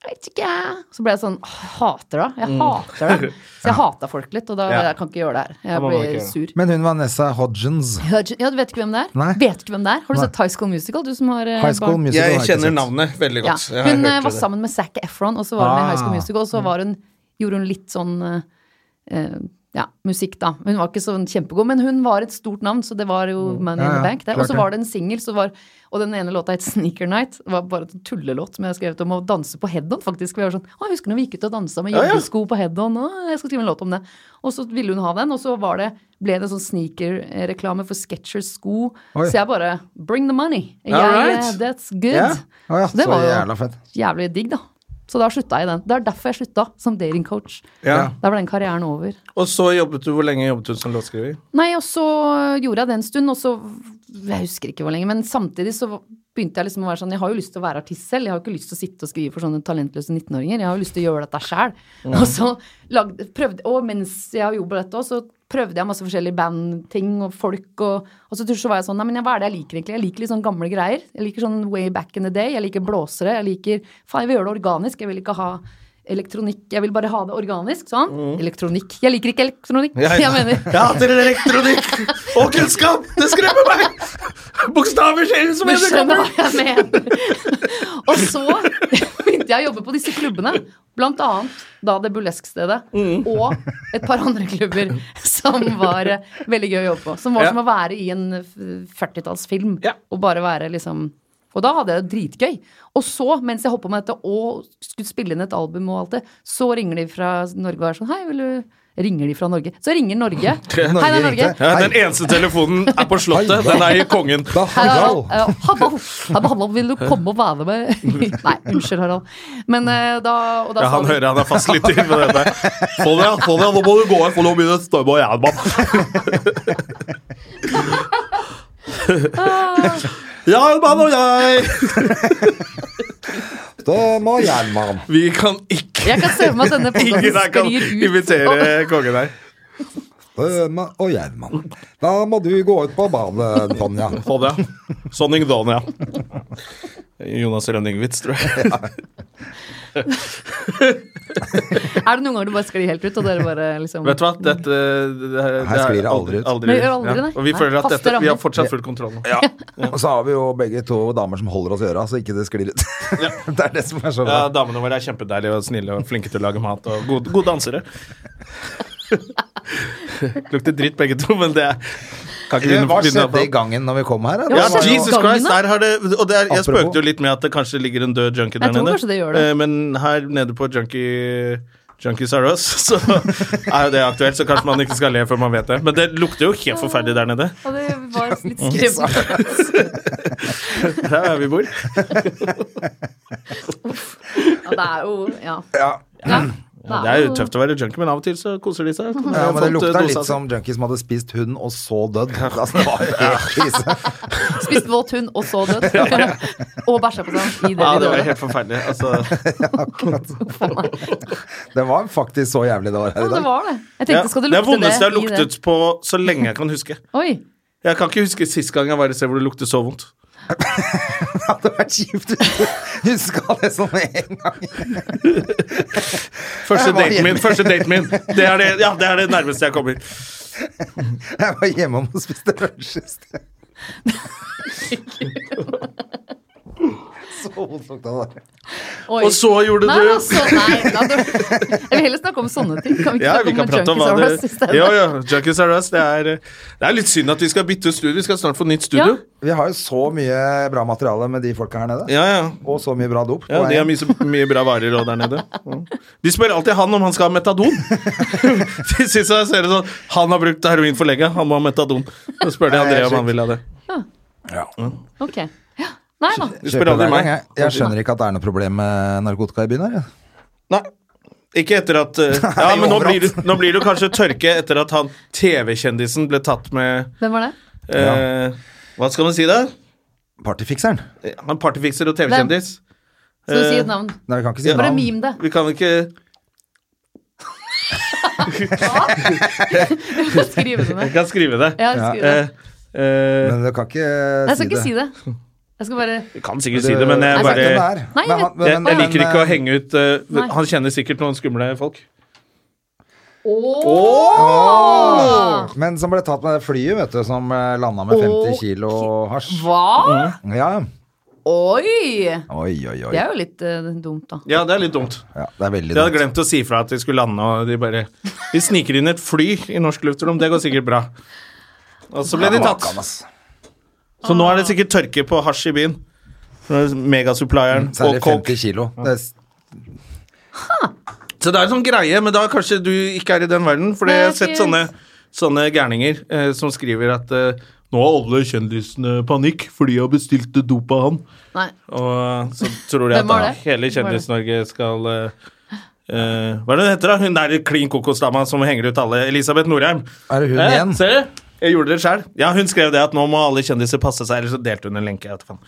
Jeg vet ikke. Så ble jeg sånn «Åh, Hater det. Jeg hater det. Så jeg hata folk litt, og da
Mm. Ja.
jeg kan ikke gjøre det her.
Da
Jeg
må man ikke
blir
gjøre det.
sur.
Men hun Vanessa Hodgins.
Hudgen, ja, du vet ikke hvem det er?
Nei.
Vet ikke hvem det er? Har du
Nei.
sett High School Musical? Du som har eh,
High School
barn?
Musical. har
Jeg
jeg ikke
kjenner
sett.
navnet veldig
Ja.
godt. Jeg har
Hun eh,
hørt
var
det.
sammen med Zac Efron, og så var hun i
Ah.
High School Musical, og så var hun, gjorde hun litt sånn eh, eh, ja, musikk, da. Hun var ikke sånn kjempegod, men hun var et stort navn, så det var jo Money
Ja,
in
ja,
the Bank. Det.
klart
Og så
det.
var det en singel, så var- og den ene låta het Sneaker Night. Det var bare en tullelåt som jeg har skrevet om å danse på head-on, faktisk. Vi var sånn, å, jeg husker når vi gikk ut og dansa med
Ja, ja.
joggesko på head-on, å, jeg skal skrive en låt om det. Og så ville hun ha den, og så var det, ble det en sånn sneaker-reklame for Skechers sko.
Oi.
Så jeg bare Bring the money. Jeg,
Alright.
That's good.
Ja. Å ja,
Så det
så
var jo-
jævla fett.
Jævlig digg, da. Så da slutta jeg i den. Det er derfor jeg slutta som datingcoach.
Ja.
Da ble den karrieren over.
Og så jobbet du, Hvor lenge jobbet du som låtskriver?
Nei, og så gjorde jeg det en stund, og så Jeg husker ikke hvor lenge, men samtidig så begynte jeg liksom å være sånn Jeg har jo lyst til å være artist selv. Jeg har jo ikke lyst til å sitte og skrive for sånne talentløse 19-åringer. Jeg har jo lyst til å gjøre dette sjæl. Og så lagde, prøvde Og mens jeg har jobbet dette òg, så prøvde jeg masse forskjellige bandting og folk og Og så til slutt så var jeg sånn Nei, men hva er det jeg liker egentlig? Jeg liker litt sånn gamle greier. Jeg liker sånn way back in the day. Jeg liker blåsere. Jeg liker Faen, jeg vil gjøre det organisk. Jeg vil ikke ha elektronikk. Jeg vil bare ha det organisk. Sånn. Elektronikk. Jeg liker ikke elektronikk. Jeg mener
Jeg hater elektronikk og kunnskap! Det skremmer meg! Bokstaver skjer som
Du
en
skjønner hva jeg mener. Og så begynte jeg å jobbe på disse klubbene. Blant annet da det burleskstedet
Mm.
og et par andre klubber som var eh, veldig gøy å jobbe på. Som var
Ja.
som å være i en eh, 40-tallsfilm
Ja.
og bare være liksom Og da hadde jeg det dritgøy. Og så, mens jeg holdt på med dette og skulle spille inn et album og alt det, så ringer de fra Norge og er sånn Hei, vil du Ringer de fra Norge? Så ringer Norge. Hei, det er Norge.
ringte.
Ja, den eneste telefonen er på Slottet. Den er i Kongen.
Da,
Hei, da,
Harald.
da, eh, Harald, Harald, Harald, vil du komme og være med? Nei, unnskyld, Harald. Men eh, da, og da
Ja,
sa
han
de-
hører han er fastlytter på det der. Få det, ja, få det, ja, nå må du gå her, for nå begynner det å storme og jernbanen. Jernbanen og jeg!
da må jernmannen.
Vi kan ikke
Jeg kan se for meg at denne
Ingen
podkasten
her kan
sklir ut.
invitere kongen her.
Døma og Gjerman. Da må du gå ut på badet, Tonja.
Få det, ja. Sonning Dania. Jonas Rønning-vits, tror jeg.
Er det noen ganger du bare sklir helt ut, og dere bare liksom
Vet du hva? Dette det, det,
Her sklir det aldri ut.
Men vi gjør aldri
ja.
det.
Og vi
Nei,
føler at
faste
dette, vi har
rammer.
fortsatt full kontroll nå.
Og så har vi jo begge to damer som holder oss i øra, så ikke det sklir ut. Det er det som er så
Ja,
bra.
damene våre er kjempedeilige og snille og flinke til å lage mat og gode, gode dansere. Lukter dritt begge to, men det er kan ikke
Hva
begynne-
skjedde i gangen når vi kom her? da? Det
Ja,
var jo-
Jesus
Gangen,
Christ,
da?
der har det Og det er, jeg
Apropos.
spøkte jo litt med at det kanskje ligger en død junkie der
Jeg tror
nede.
kanskje det gjør det.
Eh, Men her nede på junkie Junkies are us, så er jo det aktuelt. Så kanskje man ikke skal le før man vet det. Men det lukter jo helt forferdelig der nede.
Og det var litt skremmende.
Der er vi bor.
Ja, det er jo Ja.
Ja.
ja.
Det er jo tøft å være junkie, men av og til så koser de seg.
Ja, men det
Fått, eh,
lukta
dosa
litt sånn.
si.
som junkies som hadde spist hund og så dødd. Altså, det var jo helt krise.
Spist våt hund, og så død. og bæsja på seg i det vi
Ja, det var
døde.
helt forferdelig. Altså,
Det var faktisk så jævlig det var her
Ja,
i
det
dag.
var det. Jeg
ja,
tenkte, skal det lukte
det er
det,
vondeste jeg har
i det?
luktet på så lenge jeg kan huske.
Oi.
Jeg kan ikke huske sist gang jeg var et sted hvor det luktet så vondt.
Det hadde vært kjipt hvis du huska det som en gang.
Første
Jeg var
daten min!
hjemme.
første daten min Det er det, ja, det er det nærmeste jeg kommer.
Jeg var hjemme om og spiste lunsj i sted. Så vondt lukta det.
Oi.
Og så gjorde
Nei,
du
altså, nei, da, du, jeg vil heller snakke om sånne ting. Kan vi ikke
Ja,
snakke
vi
om
kan prate om
Junkies R
hva
Us i
det
stedet?
Jo, jo. Junkies are us. Det er, det er litt synd at vi skal bytte ut studio. Vi skal snart få nytt studio.
Vi har jo så mye bra materiale med de folka her nede.
Ja, ja.
Og så mye bra dop. på
ja de har
veien.
mye, så mye bra varer også der nede. Ja. De spør alltid han om han skal ha metadon. De syns jeg ser det sånn Han har brukt heroin for lenge, han må ha metadon. Så spør de
Nei,
André
jeg
om han vil ha det.
Ok. Ja. Nei da.
De
Kjøper
spør aldri
hver gang,
meg.
jeg. Jeg skjønner ikke at det er noe problem med narkotika i byen her. jeg.
Nei. Ikke etter at eh, Ja, men nå
overalt.
blir, det, nå blir det jo kanskje tørke etter at han TV-kjendisen ble tatt med
Hvem var det?
eh, Hva skal man si da?
Partyfikseren.
Han partyfikser og TV-kjendis.
Skal du si
Eh,
et navn?
Nei, vi kan ikke si
Ja.
Bare
navn.
mim det.
Vi kan ikke
Skriv det
Vi
ned.
kan skrive det.
Ja, skriv det.
Eh, eh,
Men du kan ikke
Jeg skal ikke si det. Jeg skal bare
vi kan sikkert si det, men jeg
Jeg
bare
vet hvem det
jeg,
er.
Nei,
Men han- men-
jeg
men-
liker ikke å henge ut eh,
Nei.
Han kjenner sikkert noen skumle folk.
Åh! Men som ble tatt med det flyet, vet du, som eh, landa med 50 kilo hasj.
Mm.
Hva?
Ja.
Oi!
Oi, oi, oi.
Det er jo litt eh, dumt, da.
Ja, det er litt dumt.
Ja, det er veldig
De hadde
dumt.
glemt å si fra at de skulle lande, og de bare Vi sniker inn et fly i norsk luftrom, det går sikkert bra. Og så ble de tatt.
Makan, ass.
Så nå er det sikkert tørke på hasj i byen. Megasupplieren og
Særlig
coke.
50 kilo. Det er
Så det er en sånn greie, men da kanskje du ikke er i den verden. For jeg har sett sånne, sånne gærninger eh, som skriver at eh, nå har alle kjendisene panikk, for de har bestilt dop av han.
Nei.
Og så tror jeg
Hvem var
at da,
det? Hvem
hele
var det?
Kjendis-Norge skal eh, eh, Hva er det hun heter, da? Hun der klin kokosdama som henger ut alle. Elisabeth Norheim.
Er det hun
Eh,
igjen?
Ser du? Jeg gjorde det selv Ja, hun skrev det at nå må alle kjendiser passe seg, ellers så delte hun en lenke. Jeg vet ikke faen.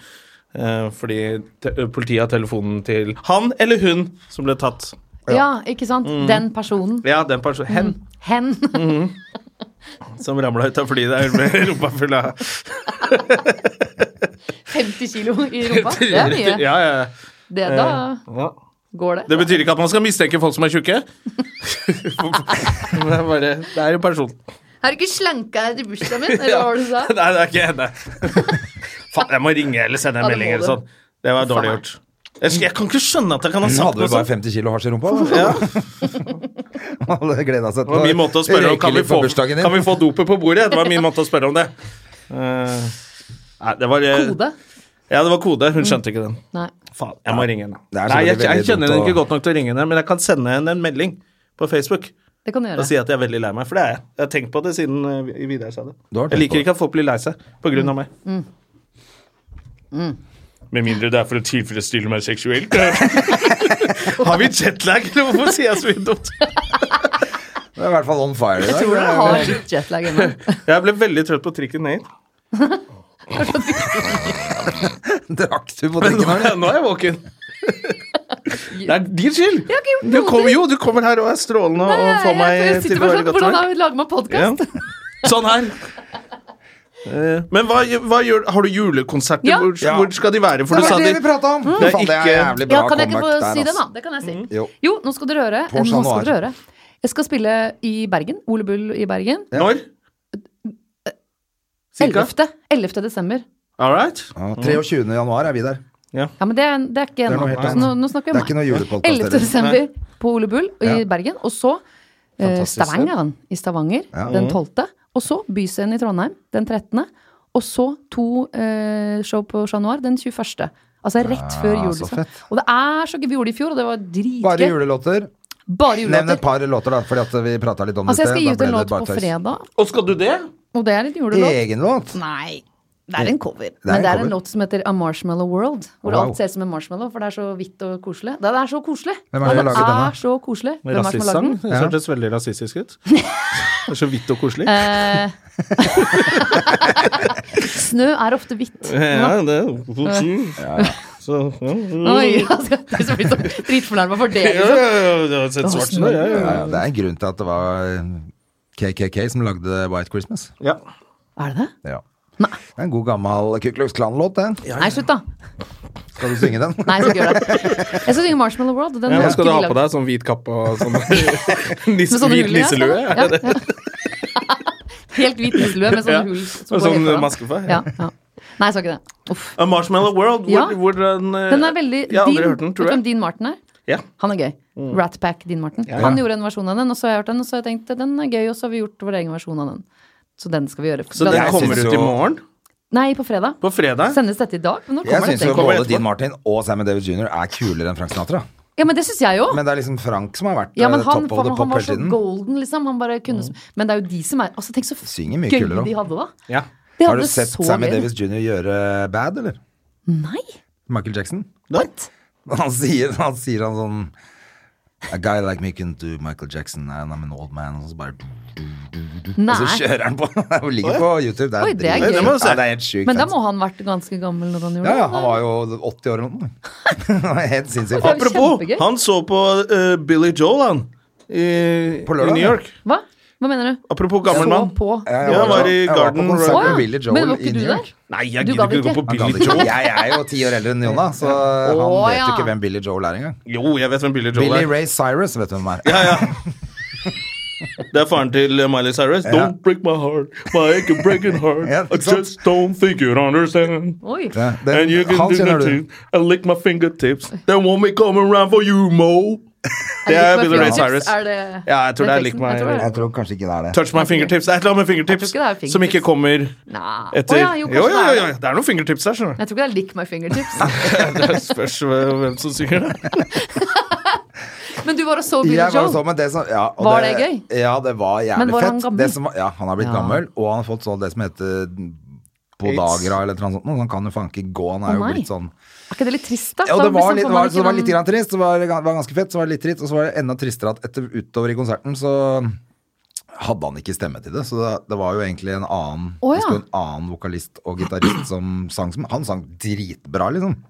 Eh, fordi te politiet har telefonen til han eller hun som ble tatt.
Ja, ikke sant?
Mm.
Den personen.
Ja, den
Mm.
personen. Hen.
Hen.
Mm. som ramla ut av flyet der med rumpa full av
50 kilo i rumpa. Det er mye.
Ja, ja,
Det, da
ja.
går det.
Det betyr ikke at man skal mistenke folk som er tjukke. det, er bare, det er en person.
Har du ikke slanka deg til bursdagen min? Eller hva var det du sa?
Nei, det er ikke henne. Faen, jeg må ringe eller sende en
Ja, det må
melding
du.
eller sånn. Det var dårlig gjort. Jeg, sk- jeg kan ikke skjønne at jeg kan ha
Hun
sagt
hadde
noe sånn.
vel bare
sånt.
50 kilo hasj i rumpa? da. Hun hadde gleda seg
Det var min måte å spørre om
røyke
Kan vi
litt
få,
på bursdagen din.
kan vi få dopet på bordet? Det var min måte å spørre om det. Eh, nei, det var eh,
Kode? Mm.
Ja, det var kode. Hun skjønte ikke den.
Nei.
Faen, jeg må ringe henne.
Det er
Nei, jeg, jeg
selvfølgelig veldig
kjenner
dumt
henne
å-
ikke godt nok til å ringe henne, men jeg kan sende henne en melding på Facebook
Det kan du gjøre.
og si at jeg er veldig lei meg, for det er jeg. Jeg har tenkt på det siden eh, Vi- Vidar sa det.
Du har
Jeg
tenkt på
liker ikke at folk blir lei seg på grunn av meg. Med mindre det er for å tilfredsstille meg seksuelt. har vi jetlag, eller hvorfor sier jeg så mye dumt?
Du er i hvert fall on fire i dag.
Jeg tror du har litt jetlag ennå.
Jeg ble veldig trøtt på trikken ned hit.
Drakk du på
Men
drikken?
nå er jeg, nå er jeg våken. Det er din skyld!
har ikke gjort
Du
noe
kommer, jo, du kommer her og er strålende og får meg til å være
sånn,
godt
Hvordan
humør.
har vi laget meg podkast?
Ja. Sånn her. Eh, Men hva, hva gjør, har du julekonserter?
Ja.
Hvor,
Ja.
hvor skal de være? For
Det
du sa
var det
de
vi prata om!
Det Mm. er
Faen, det er
ikke-
jævlig bra
Ja, kan jeg ikke få
comeback der,
si den,
altså.
da? Det kan jeg si.
Jo.
Jo, nå skal dere høre.
På
Nå
Chat
skal dere
Noir.
høre. Jeg skal spille i Bergen. Ole Bull i Bergen.
Når?
Eh,
Cirka?
11. 11. desember.
All right.
Ja, 23. januar er vi der.
Ja, men det er, det er ikke
er
ennå.
noe helt
Så
annet.
Nå, nå snakker
Det
vi
er ikke
om meg.
noe
11.
julepodkast.
desember på Ole Bull i
Ja.
Bergen. Og så eh,
Fantastisk sted.
Stavangeren i Stavanger
Ja.
den 12. Og så Byscenen i Trondheim den 13. Og så to eh, show på Chat Noir den 21. Altså rett før
Ja,
jul.
Ah, så
Liksom.
fett.
Og det er så gøy. Vi gjorde det i fjor, og det var
Bare
dritgøy.
julelåter.
Bare
Nevn
julelåter.
et par låter, da, fordi at vi prata litt om
Altså, jeg skal
det.
gi
i
ut
sted.
en
Da ble
låt
det
på
bare tøys.
fredag,
Og skal du det?
og det er litt julelåt.
Egen låt?
Nei, det er en cover.
er en
Men det er en
cover.
låt som heter A Marshmallow World. Hvor
Wow.
alt ser ut som en marshmallow, for det er så hvitt og koselig. Det det er så koselig!
Hvem er det som har
det
laget den,
er så koselig. Hvem er det som har laget
Rasistsang?
den?
Det hørtes veldig rasistisk ut. Det er så vidt og koselig.
Eh, Snø er ofte hvitt.
Ja, det
Eh.
Så, ja,
Oi, altså, det er så blir så dritfornærma for det.
ja,
Liksom.
ja, ja, det er et svart snø, ja, ja.
Ja, ja, det er en grunn til at det var eh, KKK som lagde White Christmas.
ja.
Er det det?
Ja. Det er en god gammel Ku Klux Klan-låt, den.
Nei, slutt, da.
Skal du synge den?
Nei, jeg skal ikke gjøre det. Jeg skal synge Marshmallow World. Den
Ja,
har
Hva skal du
ikke
ha
vi
på
lagd.
deg? Sånn hvit kappe og sånn
Med
nisse,
sånne
hvit
hull i, ja,
nisselue?
sånn.
Er det det?
Ja, ja. Helt hvit nisselue med sånne
Ja,
hull.
og
går
sånn
helt foran.
maskefar,
Ja,
ja.
ja. Nei, jeg skal ikke det. Uff.
A Marshmallow World, hvor,
Ja.
hvordan eh,
Den er veldig
Jeg har aldri
Dean-
hørt den,
Vet
tror
du hvem
jeg.
Dean Martin er?
Ja.
Han er gøy. Rat Pack, Dean Martin. Han gjorde en versjon av den, og så har jeg hørt den, og så har jeg tenkt den er gøy, og så har vi gjort vår egen versjon av den. Så den skal vi gjøre.
Så den
Jeg
kommer
synes
ut
jo-
i morgen?
Nei, på fredag.
På fredag?
Sendes dette i dag? Men når
Jeg
kommer
syns
dette?
jo
Kommer
både
etterpå.
Dean Martin og Sammy Davis jr. er kulere enn Frank Sinatra.
Ja, men det syns jeg jo.
Men det er liksom Frank som har vært
Ja, men
eh,
han,
topp
for
of the
han,
pop
var
hele
så
tiden.
golden, liksom. Han bare kunne Men det er jo de som er Altså, tenk så
Synger mye
gøy
kulere også.
de hadde, da.
Ja.
De
Har du
hadde
sett
så
Sammy
gøy.
Davis jr. gjøre bad, eller?
Nei!
Michael Jackson?
What?
Han sier, han sier han sånn A guy like me can do Michael Jackson and I'm an old man. Og så bare
Nei.
Og så kjører han på. Det ligger på YouTube. Det er,
Oi, det er
dritgøy.
gøy. Det må
jeg se.
Ja, det er helt sjukt.
Men da
fett.
må han vært ganske gammel når han gjorde
ja, ja,
det,
han
da.
var jo 80 år eller noe. helt sinnssykt.
Hvorfor-
Apropos,
Kjempegøy.
han så på eh, Billy Joel, han. I,
På lørdag,
I New
ja.
York.
Hva? Hva mener du?
Apropos gammel mann.
Så på
Ja,
Ja, han var i
jeg var på
Garden
konsert
Royal.
med
Å, ja.
Billy Joel
Men var
i
ikke du
New York.
der?
Nei, jeg
Du
gidder
gadd
ikke å gå
ikke?
på
Han gadd
Billy
ikke.
Joel.
Jeg er jo ti år eldre enn Jonna, så han
Å,
vet jo
ja.
ikke hvem Billy Joel er engang.
Jo, jeg vet hvem Billy Joel
Billy
er.
Ray Cyrus vet du hvem er.
Ja, ja. Det er faren til eh, Miley Cyrus. Don't break my heart, my aching breaking heart.
Ja,
I
ikke sant?
just don't think you understand.
Oi.
Ja, den-
And you can
han
do
kjenner
the
du.
thing. I lick my fingertips. They want me coming around for you, Mo. Det
Er
er
det
Billy Ray
Fingertips?
Cyrus.
Er det
Ja, jeg tror det er Lik meg-
Jeg tror det er-
Jeg tror kanskje ikke det er det.
Touch my fingertips. Det er et eller annet med fingertips,
Jeg tror ikke det er
som
fingertips.
ikke kommer
Nei.
etter.
Å ja, jo, kanskje
jo, jo,
det er
jo,
det.
jo. Det er noen fingertips der, skjønner du.
Jeg tror ikke det er lick my fingertips.
Det spørs eh, hvem som synger det.
Men du var og så Billy
Jeg var
Joel.
jo så, men det som, ja, og
Var det gøy?
Ja, det var jævlig
Men var
fett.
han gammel?
Det som var, ja, han har blitt
Ja.
gammel, og han har fått sånn det som heter Podagra eller noe sånt. nå, så Han kan jo faen ikke gå, han
Å,
er jo
nei.
blitt sånn
Er ikke det litt trist, da?
Ja, og
Da
det var
liksom
litt,
får man
var,
ikke
så det var
den-
litt grann trist, så var det ga- var ganske fett, så var det litt trist, og så var det enda tristere at etter, utover i konserten så hadde han ikke stemme til det, så det, det var jo egentlig en annen,
Å, ja.
det sto en annen vokalist og gitarist som sang som, han sang dritbra liksom.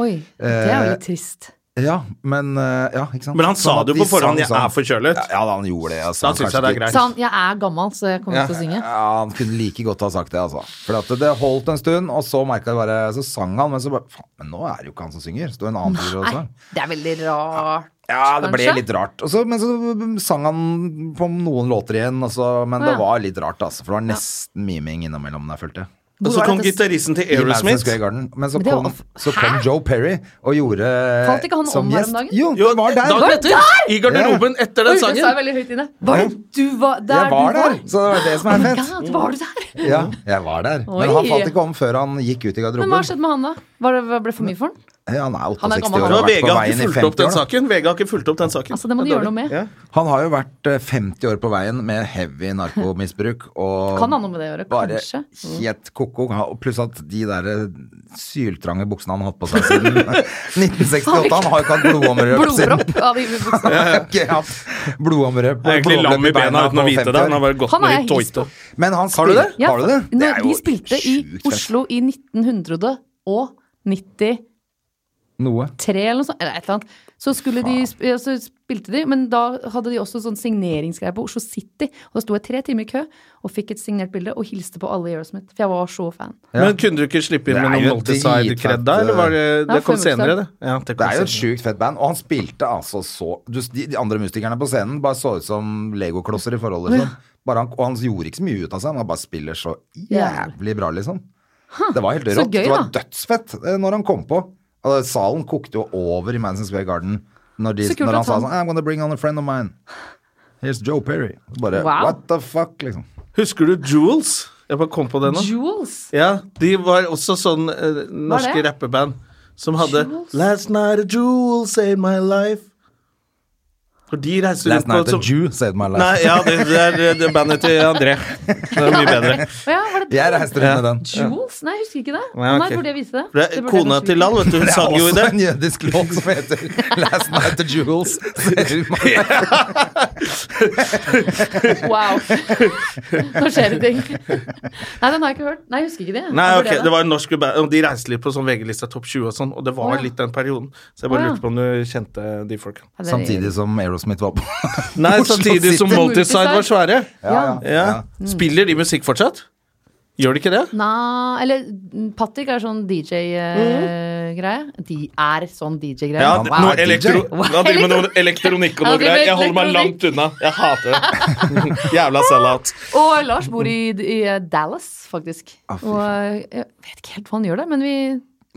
Oi, det
Eh,
er jo litt trist.
Ja, men, eh, ja, ikke sant?
Men han sa
Sånn at
det
de
på forhånd,
sang
jeg
sånn-
er forkjølet.
Ja, ja, da han gjorde det. og så
Da syns jeg
kanskje
det er
ikke-
greit.
Sa han 'jeg er gammel, så jeg kommer ikke til å synge'?
Ja, han kunne like godt ha sagt det, altså. For at det holdt en stund, og så merket jeg bare Så sang han, men så bare Faen, men nå er det jo ikke han som synger. Så det var en annen fyr og
Nei,
sang.
det er veldig rart.
Ja, det ble
kanskje?
litt rart. Og så- men så sang han på noen låter igjen, og så, men
Å,
det
ja.
altså, var litt rart, altså. For det var nesten miming innimellom der, følte jeg.
Og så
var
kom
dette-
gitaristen til
i Madison
Aerosmith.
Square Garden. Men så
Men det var
kom,
off-
så kom Joe Perry og gjorde
Falt ikke han
som
om her om
gjest.
dagen?
Jo,
Jo,
han var der.
dagen etter, I garderoben etter
Oi,
den
det sa jeg
sangen.
veldig høyt inne. Var det du var der?
jeg var
du
der, så det var det som er fett.
God, var du der?
Ja, jeg var der. Men
Oi.
han falt ikke om før han gikk ut i
Men hva
garderoben.
har skjedd med han, da? Var det, ble det for mye for han?
Ja, han er
Han er gammel,
Det
68 år og
var
har vært
VG
på
har
veien
ikke
i
fulgt opp
50
den
år. da.
saken. VG har ikke fulgt opp den saken.
Altså, det må
er
de gjøre
dårlig.
noe med.
Ja.
Han har jo vært eh, 50 år på veien med heavy narkomisbruk og
Kan han noe med det å gjøre?
bare
Kanskje. Mm.
helt ko-ko. Han- Pluss at de der eh, syltrange buksene han har hatt på seg siden 1968. Han har jo ikke hatt blodomrøp siden.
Blodpropp av buksa.
Ikke hatt blodomrøp.
Jeg er egentlig lam i bena uten å
på
vite
50
det.
år.
Han har bare gått
Han er
med
jeg
litt
his på.
tøyte.
Men han
Har du
spiller-
Ja,
Har du det?
for
Det
når
er
de
jo
spilte i
sjukt fett.
Oslo i 1900 og 93
Noe.
eller noe sånt, eller et eller annet. Så, skulle de, sp- ja, så spilte de, men da hadde de også sånn signeringsgreie på Oslo City. Og da sto jeg tre timer i kø og fikk et signert bilde og hilste på alle i Aerosmith. For jeg var så fan.
Men kunne du ikke slippe inn
Det
med
er
noen
jo dritfett,
multiside-kred der? Eller var det,
Ja,
det kom
5%.
senere, det. Ja, det,
Det
kom
er jo et
senere.
sjukt fett band, og han spilte altså så du, de, de andre musikerne på scenen bare så ut som legoklosser i forhold, liksom. Bare han, og han gjorde ikke så mye ut av seg, men han bare spiller så jævlig bra, liksom. Det var helt
så
rått.
gøy,
det var
da.
dødsfett eh, når han kom på. Og salen kokte jo over i Madison Square Garden når, de,
Så kult
når han
at
sa
han-
sånn I'm gonna bring on a friend of mine. Here's Joe Perry. Bare
Wow.
what the fuck, liksom.
Husker du Jules? Jeg bare kom på det nå.
Jules!
Ja, de var også sånn eh, norske
det?
rappeband som hadde
Jules?
Last night a jewel saved my life. For de reiser
Last
rundt
night
på
the Jew saved my life.
Nei, ja, det, det er eh, det er bandet til André. Det er mye bedre.
Å ja, var det
Jeg reiste rundt med den.
Jules? Nei, jeg husker ikke det.
Nei,
Nei,
ok.
burde jeg vise det?
Det
Det
er
burde jeg
kona
kanskje
til
vise.
Lal, vet du, hun
Det
sang
er
jo i det.
også en jødisk låt som heter Last Night the Jewels. saved my life.
Wow. Nå skjer det ting. Nei, den har jeg ikke hørt. Nei, jeg husker ikke det.
Nei,
Jeg
ok,
vurderer
det var en norsk band, og de reiste litt på sånn VG-lista Topp 20 og sånn, og det var
Å, ja.
litt den perioden. Så jeg
Å,
bare
ja.
lurte på om du kjente de folka.
Ja, det er-
Samtidig som Aerosmith var på.
Nei,
Oslo
samtidig som
City.
Multiside var svære.
Ja.
Ja. Spiller de musikk fortsatt? Gjør de ikke det?
Nei, eller mm, Patrick er sånn DJ-greie. De er sånn DJ-greie.
Mhm. Ja,
Han
d-
er
noe
DJ.
elektro...
Wow.
Han driver med noe elektronikk og
Han
noe
driver
greier.
med
Jeg holder meg
elektronikk.
langt unna. Jeg hater det. Jævla sell-out.
Og Lars bor i, i eh, Dallas, faktisk.
Ah, fy
Og eh, jeg vet ikke helt hva han gjør der, men vi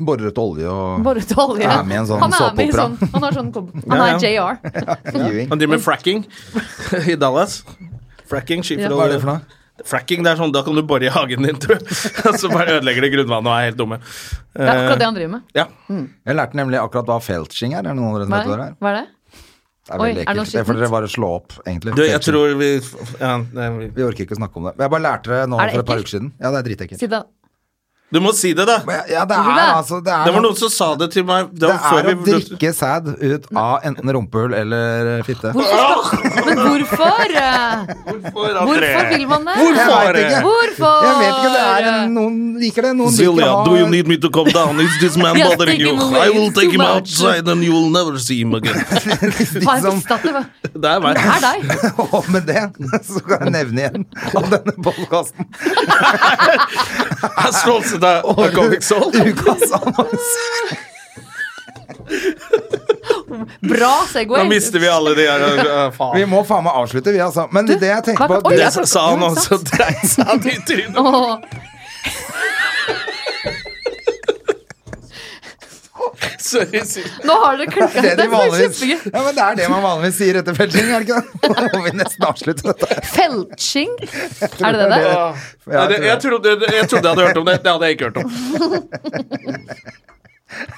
Borer ut olje og
bare til olje.
Er med i en sånn
han er med i
såpeopera.
sånn Han har sånn kom- Han
Ja, ja.
er JR.
flyving.
Han driver med fracking i Dallas. Fracking,
Ja.
skifer
Hva er det for noe?
Fracking, det er sånn, da kan du bore i hagen din, tror jeg. Og så bare ødelegger det grunnvannet og er helt dumme.
Det er
Eh,
akkurat det han driver med.
Ja.
Jeg lærte nemlig akkurat hva feltskinn er. Er det noen av dere som
Hva
vet hva det
er,
er?
hva er det?
Det er
Oi,
veldig
er det noe
ekkelt. Det får dere bare slå opp, egentlig.
Du, jeg
Feltskinn.
tror vi ja, nei, vi-
Vi orker ikke å snakke om det. Men Jeg bare lærte det nå
Er det
for et par
ekkelt?
uker siden. Ja, det er dritekkelt.
Si det.
Du må si det, da!
Men Ja, det
Tror du
er
det?
altså Det er,
Det var noen som sa det til meg. Det
det
var før
er å
vi
drikke sæd ut av enten rumpehull eller eh, fitte.
Men hvorfor? eh,
Hvorfor,
Hvorfor vil man det?
Hvorfor?
Jeg vet ikke.
Hvorfor?
Jeg vet ikke, det er en- noen liker det, noen liker
Zilja,
å
do you
ha
need me to come down? Is this man
Yes, take
bothering you?
him away.
I will
It's
take
too
him
much.
outside and you will never see him again.
de
Hva er
som
bestatt, det var-
Det er meg.
Det er deg.
Og med det så kan jeg nevne igjen av denne podkasten
Jeg er sponset av Comic Soul.
ukas annonse.
Bra Segway.
Da mister vi alle de her øh,
Vi
Faen.
må faen meg avslutte, vi, altså. Men det jeg tenker
hva-
på
oi,
Det
jeg
sa-
så-
sa han
Ja,
også
sant.
dreit seg han i trynet.
Åh.
Sorry, Silje.
Nå har dere klikka.
Det
Det
er det,
er
de vanligvis,
kjempegøy.
ja, men det er det man vanligvis sier etter felting, er det ikke det? Nå må vi nesten avslutte dette.
Feltskinn. Er det det det? er?
Nei, det- Jeg trodde jeg trodde jeg hadde hørt om det. Det hadde jeg ikke hørt om.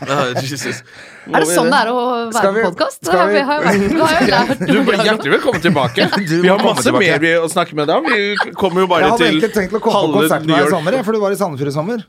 Ah, Jesus.
Er det sånn det er å
Skal
være
vi-
på podkast? Det
skal
har
vi-
jeg har jeg vært- det har jeg lært.
Du blir hjertelig velkommen tilbake.
Du
Vi
må
har
komme
masse
tilbake.
mer vi å snakke med deg om. Vi kommer jo
Jeg
bare
hadde
til
egentlig tenkt å komme på
halve
konsert med
New
deg i
York.
sommer, jeg, for du var i Sandefjord i sommer.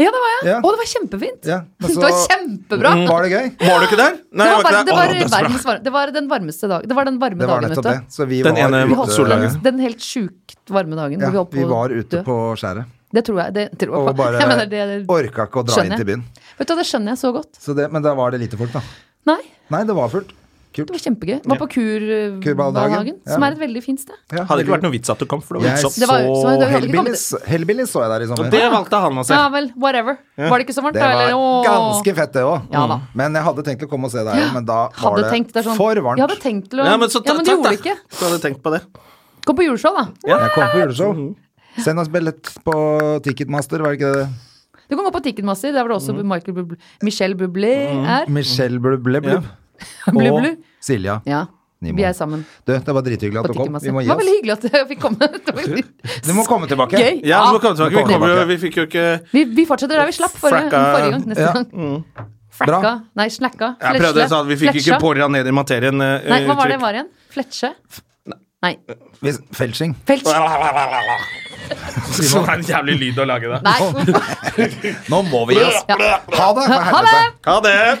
Ja, det var jeg.
Ja.
Å, det var kjempefint.
Ja, men
Det
så- Mm.
var kjempebra. Mm.
Var det gøy?
Var du ikke der? Nei,
Det
jeg
var,
ikke
var,
der.
det,
Å,
var
det er så bra.
verdens, var- det var den varmeste dag. Det var den varme
Det var
dagen, vet
nettopp det.
du.
Så vi
Den
var
ene
ute,
soldagen.
Den helt sjukt varme dagen.
Ja,
hvor vi, holdt på
vi
å
var ute
dø.
på skjæret
Det tror jeg. Det tror jeg
og
på.
bare
jeg mener, det,
orka ikke å dra inn
skjønner
til
jeg.
byen.
Vet du, hva, Det skjønner jeg så godt.
Så det, men da var det lite folk, da.
Nei,
Nei, det var fullt.
det var kjempegøy. Var på Kurvalhagen,
Kurballdagen, ja.
som er et veldig fint sted.
Ja,
Hadde ikke vært noe vits at du kom, for det var
Jeg
utsolgt.
Det var- så
så
det hadde ikke
Hellbillies Hellbillies så jeg der i sommer.
Det valgte han å se.
Ja vel, whatever. Var det ikke så varmt,
Det
da?
var
eller? Åh.
ganske fett, det òg.
Ja da.
Men jeg hadde tenkt å komme og se deg òg, men da var
Hadde
det,
tenkt, det er sånn,
for varmt.
Jeg hadde tenkt til å
Ja, men så
Ja,
ta-
men du
takk,
gjorde det
da.
ikke.
Så hadde jeg tenkt på det.
Kom på juleshow, da.
Jeg kom på juleshow. Send oss billett på Ticketmaster, var det ikke det?
Du kan gå på Ticketmaster, der var det også Michael Bublé, Michelle Bublé
Mm.
er.
Michelle Blubleblub. Og
Blublu.
Silja.
Ja.
Nimo.
Vi er sammen
Du, det var drithyggelig
på
at du kom. Vi
Ticketmaster.
må
Det
gi
var veldig
oss.
hyggelig at jeg fikk komme. Det var veldig-
Du må komme tilbake.
Gøy.
Ja,
Ja.
du må komme tilbake. Vi,
Kommer
kommer jo,
tilbake.
vi fikk jo ikke
Vi, vi fortsetter der vi slapp forrige,
Fracka.
forrige gang. Neste
Ja.
gang.
Bra.
Flekka. Nei, slakka.
Jeg prøvde sånn, Vi fikk ikke porra ned i materien. eh,
Nei, hva var det
uttrykk.
var igjen? Fletsje? Nei.
Vi- Felsching.
Felts.
Så det er en jævlig lyd å lage det.
Nei.
Nå må vi gi oss. Ha det! for
Ha
helvete.
det!
Ha det!